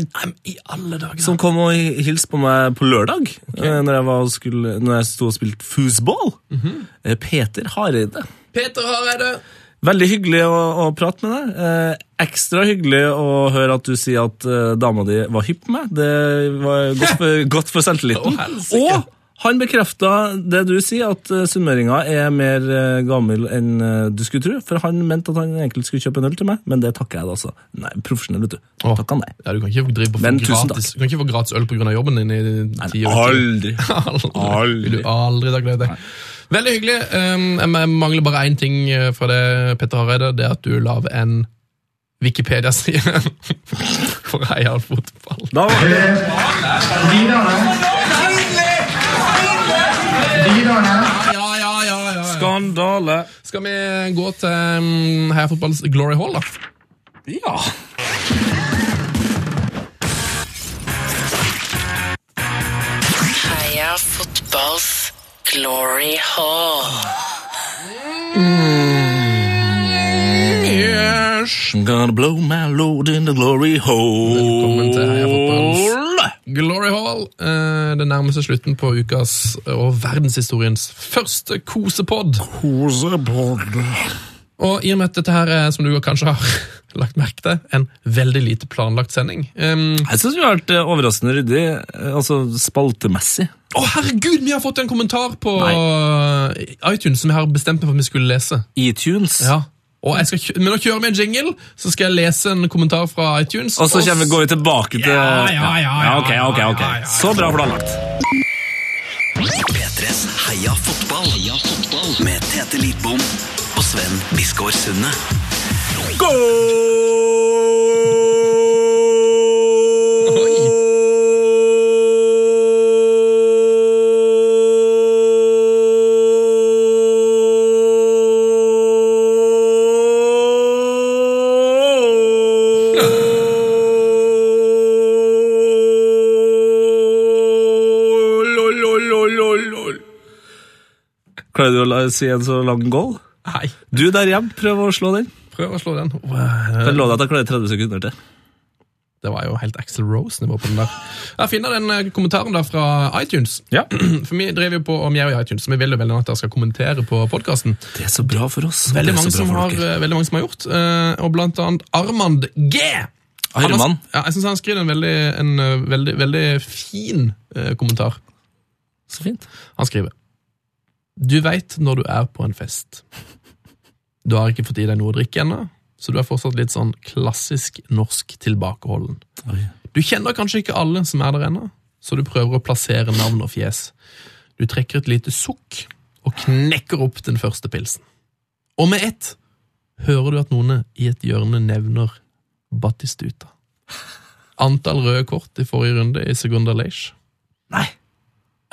I alle dager! som kom og hi- hilste på meg på lørdag, eh, når, jeg var og skulle, når jeg sto og spilte foosball. Eh, Peter Hareide. Peter Hareide! Veldig hyggelig å, å prate med deg. Eh, ekstra hyggelig å høre at du sier at eh, dama di var hypp på meg. Det var godt for, godt for selvtilliten. Å, helsike. og han bekrefta det du sier, at eh, sunnmøringa er mer eh, gammel enn eh, du skulle tro. For han mente at han egentlig skulle kjøpe en øl til meg, men det takker jeg da, altså. Nei, profesjonell, vet du. Å. Takk han nei. Ja, du kan ikke drive på Men folk tusen gratis. Du kan ikke få gratis øl pga. jobben din i ti år. Aldri. Aldri. Vil du aldri takke nei til. Veldig hyggelig. Um, jeg mangler bare én ting eh, fra det, Petter Hareide. Det er at du lager en Wikipedia-side for Heial fotball. Da var det Ja, ja, ja, ja, ja. skandale. Skal vi gå til um, Heia fotballs Glory Hall, da? Ja. Heia fotballs glory hall. I'm gonna blow my load in the glory hole. Velkommen til Heia Fotballs. Glory Hall. eh, Det nærmer seg slutten på ukas og verdenshistoriens første kosepod. Kosepod. Og i og med at dette her, er, som du kanskje har lagt merke til, en veldig lite planlagt sending um, Jeg syns vi har vært eh, overraskende ryddig, eh, altså spaltemessig. Å, herregud, vi har fått en kommentar på iTunes som jeg har bestemt meg for at vi skulle lese. E-tunes. Og jeg skal, kjø- men nå kjører vi en jingle, så skal jeg lese en kommentar fra iTunes. Og så kommer, s- går vi tilbake til Ja, ja, ja, ja, ok, ok, ok. ja, ja, ja. Så bra planlagt. P3s Heia fotball. Heia fotball. Med Tete Lidbom og Sven Biskår Sunde. Oi. Klarer du å la- si en så lang goal? Nei, Du der hjemme, prøv å slå den. prøv å slå den. Wow. Jeg lover at jeg klarer 30 sekunder til. Det var jo helt Axel Rose-nivå på den der. Jeg finner den eh, kommentaren der fra iTunes. Ja. For vi driver jo på om jeg og iTunes, så vi vil jo veldig gjerne at dere skal kommentere på podkasten. Det er så bra for oss. Det Veldig er mange, så bra som for har, dere. eh, veldig mange som har gjort, eh, og blant annet Armand G. eh, Han har- Armand? Ja, jeg syns han skriver en veldig, en eh, veldig, veldig fin eh, kommentar. Så fint. Han skriver Du veit når du er på en fest. Du har ikke fått i deg noe å drikke ennå, så du er fortsatt litt sånn klassisk norsk tilbakeholden. Du kjenner kanskje ikke alle som er der ennå, så du prøver å plassere navn og fjes. Du trekker et lite sukk og knekker opp den første pilsen. Og med ett hører du at noen i et hjørne nevner Batistuta. Antall røde kort i forrige runde i Segunda Leish. Nei.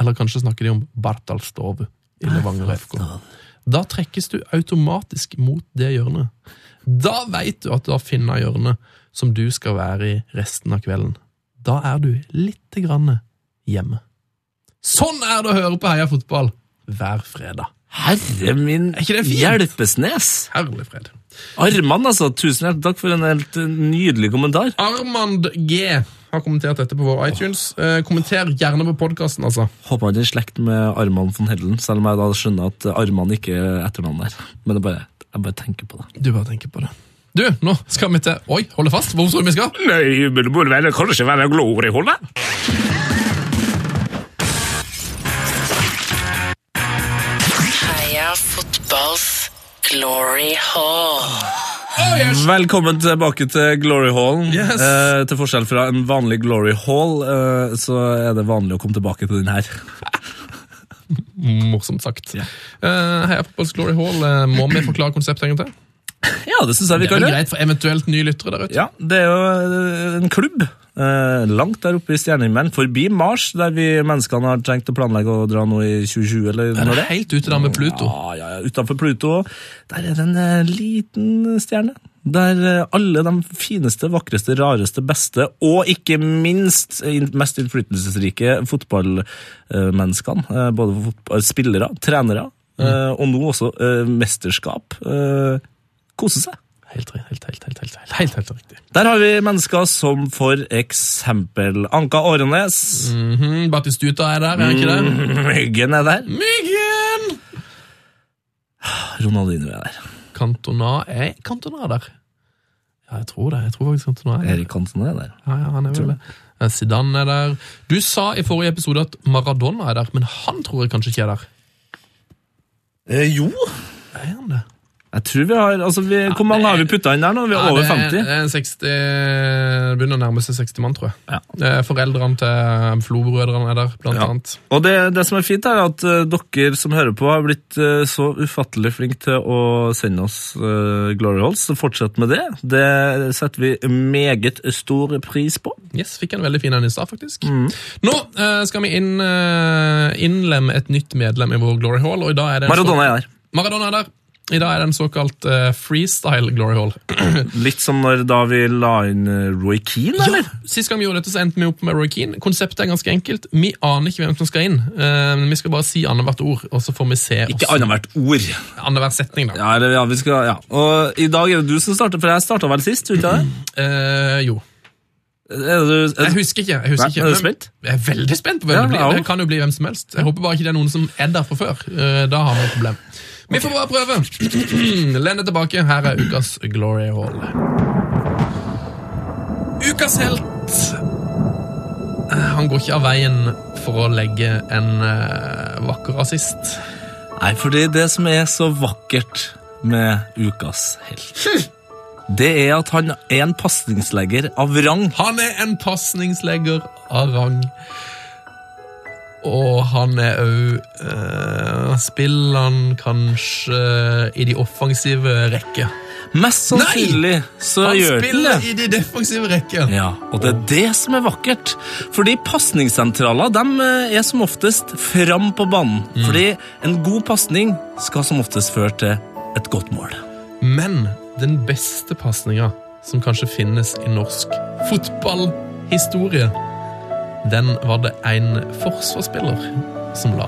Eller kanskje snakker de om Bartalstov i Levanger FK. Da trekkes du automatisk mot det hjørnet. Da veit du at du har funnet hjørnet som du skal være i resten av kvelden. Da er du lite grann hjemme. Sånn er det å høre på Heia fotball hver fredag. Herre min hjelpesnes! Herlig fred. Arman, altså. Tusen hjertelig takk for en helt eh, nydelig kommentar. Armand G har kommentert dette på vår iTunes. Eh, kommenter gjerne på podkasten, altså. Håper han er i slekt med Arman von Hellen, selv om jeg da skjønner at Arman ikke er etternavnet der. Men jeg bare, jeg bare tenker på det. Du bare tenker på det. Du, nå skal vi til Oi, hold deg fast. Hvor tror du vi skal? Nei, men det burde vel kanskje være gloriholdet? Heia fotballs glory hall. Velkommen tilbake til Glory Hall. Yes. Eh, til forskjell fra en vanlig Glory Hall, eh, så er det vanlig å komme tilbake til den her. Morsomt sagt. Eh, heia Fotballs Glory Hall. Eh, må vi forklare konseptet en gang til? Ja, det syns jeg vi Det er kan vel gjøre. greit for eventuelt nye lyttere der ute. Ja, det er jo eh, en klubb. Eh, langt der oppe i stjernehimmelen, forbi Mars, der vi menneskene har tenkt å planlegge å dra nå i 2020, eller Er når det det er. helt ute da med Pluto? Ah, Ja, ja, ja, utenfor Pluto. Der er det en eh, liten stjerne. Der eh, alle de fineste, vakreste, rareste, beste og ikke minst eh, in- mest innflytelsesrike fotballmenneskene, eh, både fotball, spillere, trenere eh, og nå også eh, mesterskap, eh, koser seg. Helt, helt, helt, helt, helt, helt, helt, helt, helt riktig. Der har vi mennesker som for eksempel Anka Årenes. Mhm, Batistuta er der, er han ikke det? Myggen er der. Myggen! Ronaldinho er der. Cantona er Cantona der? Ja, jeg tror det. Jeg tror faktisk Cantona er der. Erik Hansen er der. Ja, ja, han er vel det. Eh, Zidane er der. Du sa i forrige episode at Maradona er der, men han tror jeg kanskje ikke er der. Eh, jo. Er han det? Jeg tror vi har, altså vi, Hvor mange har vi putta inn der nå? Vi er over det er- 50. Det er 60, det begynner å nærme seg 60 mann, tror jeg. Ja. Eh, Foreldrene til eh, Flo-brødrene er der, blant Ja. annet. Og det, det som er fint, er at eh, dere som hører på, har blitt eh, så ufattelig flinke til å sende oss eh, Glory Holes. Så fortsett med det. Det setter vi meget stor pris på. Yes, fikk en veldig fin en i stad, faktisk. Mm. Nå eh, skal vi inn, eh, innlemme et nytt medlem i vår Glory Hall, og i dag er det en Maradona er der. så- Maradona er der. I dag er det en såkalt eh, freestyle Glory Hall. Litt som når da vi la inn eh, Roy Keane, Ja, eller? Sist gang vi gjorde dette, så endte vi opp med Roy Keane. Konseptet er ganske enkelt. Vi aner ikke hvem som skal inn. Eh, vi skal bare si annethvert ord, og så får vi se Ikke annethvert ord. annenhver setning, da. Ja, eller, ja, vi skal, ja. Og i dag er det du som starter, for jeg starta vel sist? Vet jeg. Eh, jo. Er det, er, Jeg husker ikke. jeg husker Nei, ikke. er du Men- spent? Jeg er veldig spent på hvem Ja, det blir. jeg Det også. kan jo bli hvem som helst. Jeg håper bare ikke det er noen som er der fra før. Eh, Da har vi et problem. Vi får bare prøve. Len deg tilbake. Her er ukas Glory Hall. Ukas helt Eh, Han går ikke av veien for å legge en eh, vakker assist. Nei, fordi det som er så vakkert med ukas helt, det er at han er en pasningslegger av rang. Han er en pasningslegger av rang. Og han er òg uh, Spiller han kanskje i de offensive rekker? Mest sannsynlig så Han gjør han det. spiller i de defensive rekker! Ja, og det er det som er vakkert. Fordi pasningssentraler de eh, er som oftest fram på banen. Mm. Fordi en god pasning skal som oftest føre til et godt mål. Men den beste pasninga som kanskje finnes i norsk fotballhistorie, den var det en forsvarsspiller som la.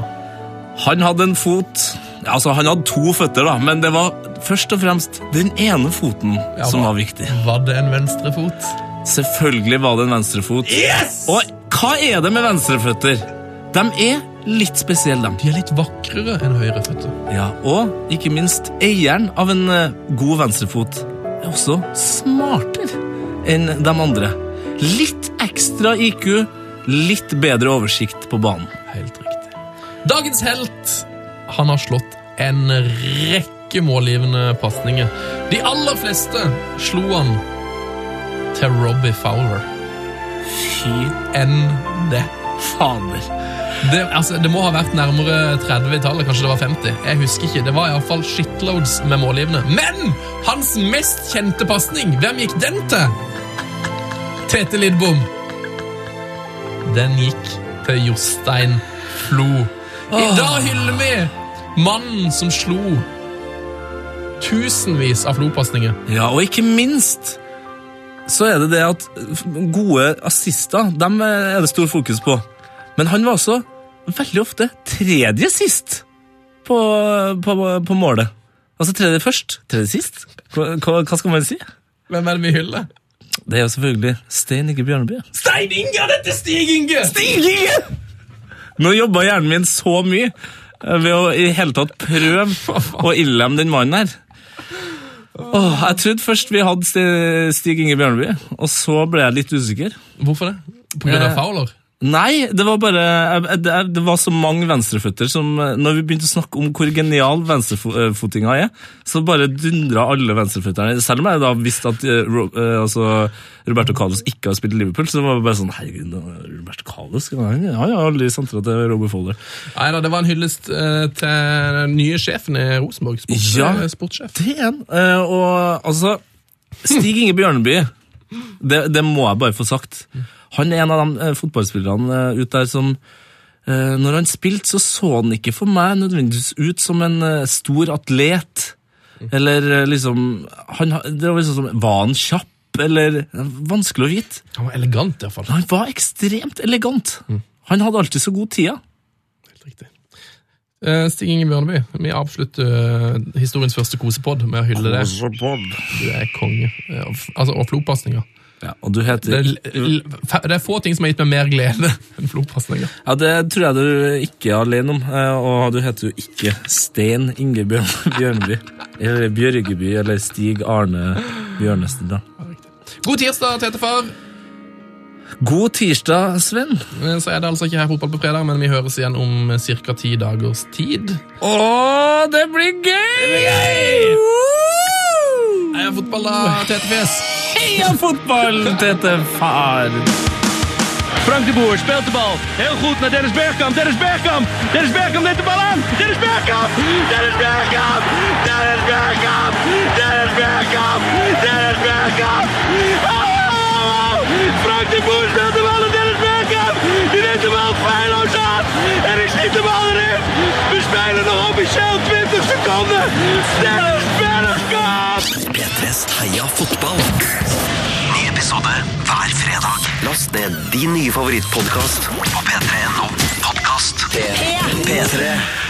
Han hadde en fot Altså, han hadde to føtter, da, men det var først og fremst den ene foten Ja, som hva? var viktig. Var det en venstrefot? Selvfølgelig var det en venstrefot. Yes! Og hva er det med venstreføtter? De er litt spesielle, de. De er litt vakrere enn høyreføtter. Ja, og ikke minst, eieren av en eh, god venstrefot er også smartere enn de andre. Litt ekstra IQ, litt bedre oversikt på banen. Helt riktig. Dagens helt han har slått en rekke rekke målgivende pasninger. De aller fleste slo han til Robbie Fowler. Fy enn det. Fader. Det, altså, det må ha vært nærmere 30-tallet, kanskje det var 50. Jeg husker ikke. Det var iallfall shitloads med målgivende. Men hans mest kjente pasning, hvem gikk den til? Tete Lidbom. Den gikk til Jostein Flo. I dag hyller vi mannen som slo tusenvis av Flo-pasninger. Ja, og ikke minst så er det det at gode assister, dem er det stor fokus på. Men han var også veldig ofte tredje sist på, på, på målet. Altså tredje først, tredje sist. Hva, hva hva skal man si? Hvem er det vi hyller? Det er jo selvfølgelig Stein Inge Bjørneby. Stein Inge! Dette er Stig Inge! Nå jobba hjernen min så mye eh, ved å i hele tatt prøve å innlemme den mannen her. Åh, jeg trodde først vi hadde Sti- Stig Inge Bjørneby, og så ble jeg litt usikker. Hvorfor det? På grunn av Eh, Fowler? Nei, det var bare jeg- jeg- Det det var så mange venstreføtter som eh, Når vi begynte å snakke om hvor genial venstrefotinga er, så bare dundra alle venstreføtterne. Selv om jeg da visste at eh, Ro, eh, altså, Roberto Carlos ikke har spilt i Liverpool, så det var bare sånn Herregud, Roberto Carlos han har jo aldri sentra til Robbie Fowler. Nei da, det var en hyllest eh, til den nye sjefen i Rosenborg. Sports, Ja. eh, Sportssjef. Det er han. Eh, og altså Stig Inge Bjørneby, det, det må jeg bare få sagt. Han er en av de eh, fotballspillerne eh, ut der som eh, Når han spilte, så så han ikke for meg nødvendigvis ut som en eh, stor atlet. Eller eh, liksom han, ha- det var, liksom, som- var han kjapp? Eller eh, Vanskelig å vite. Han var elegant, iallfall. Men han var ekstremt elegant. Mm. Han hadde alltid så god tida. Riktig. Eh, Stig Inge Bjørneby, vi avslutter eh, historiens første kosepod med å hylle deg. Du er konge. Eh, og f- altså, og flopasninger. og du Det, heter er l- l- fa- det er få ting som har gitt meg mer glede enn flopasninger. Ja, det tror jeg du ikke er alene om. eh, Og du heter jo ikke Stein Inge Bjørn- Bjørneby. Eller Bjørgeby, eller Stig Arne Bjørnestad. da. God tirsdag, tetefar! God tirsdag, Sven. Eh, Så er det altså ikke her fotball på fredag, men vi høres igjen om ca. ti dagers tid. Å, det blir gøy! Heia fotball, da, tetefjes! Heia fotball, Tete Far! Frank de Boer speelt de bal. Heel goed naar Dennis Bergkamp. Dennis Bergkamp. Dennis Bergkamp neemt de bal aan. Dennis Bergkamp. Dennis Bergkamp. Dennis Bergkamp. Dennis Bergkamp. Dennis Bergkamp. Oh! Frank de Boer speelt de bal aan Dennis Bergkamp. Die neemt de bal feilloos aan. En is niet de bal erin. We spelen nog officieel 20 seconden. Dennis Bergkamp. P3s Heia fotball. Ny episode hver fredag. Last ned din nye favorittpodkast på p3.no podkast. P3.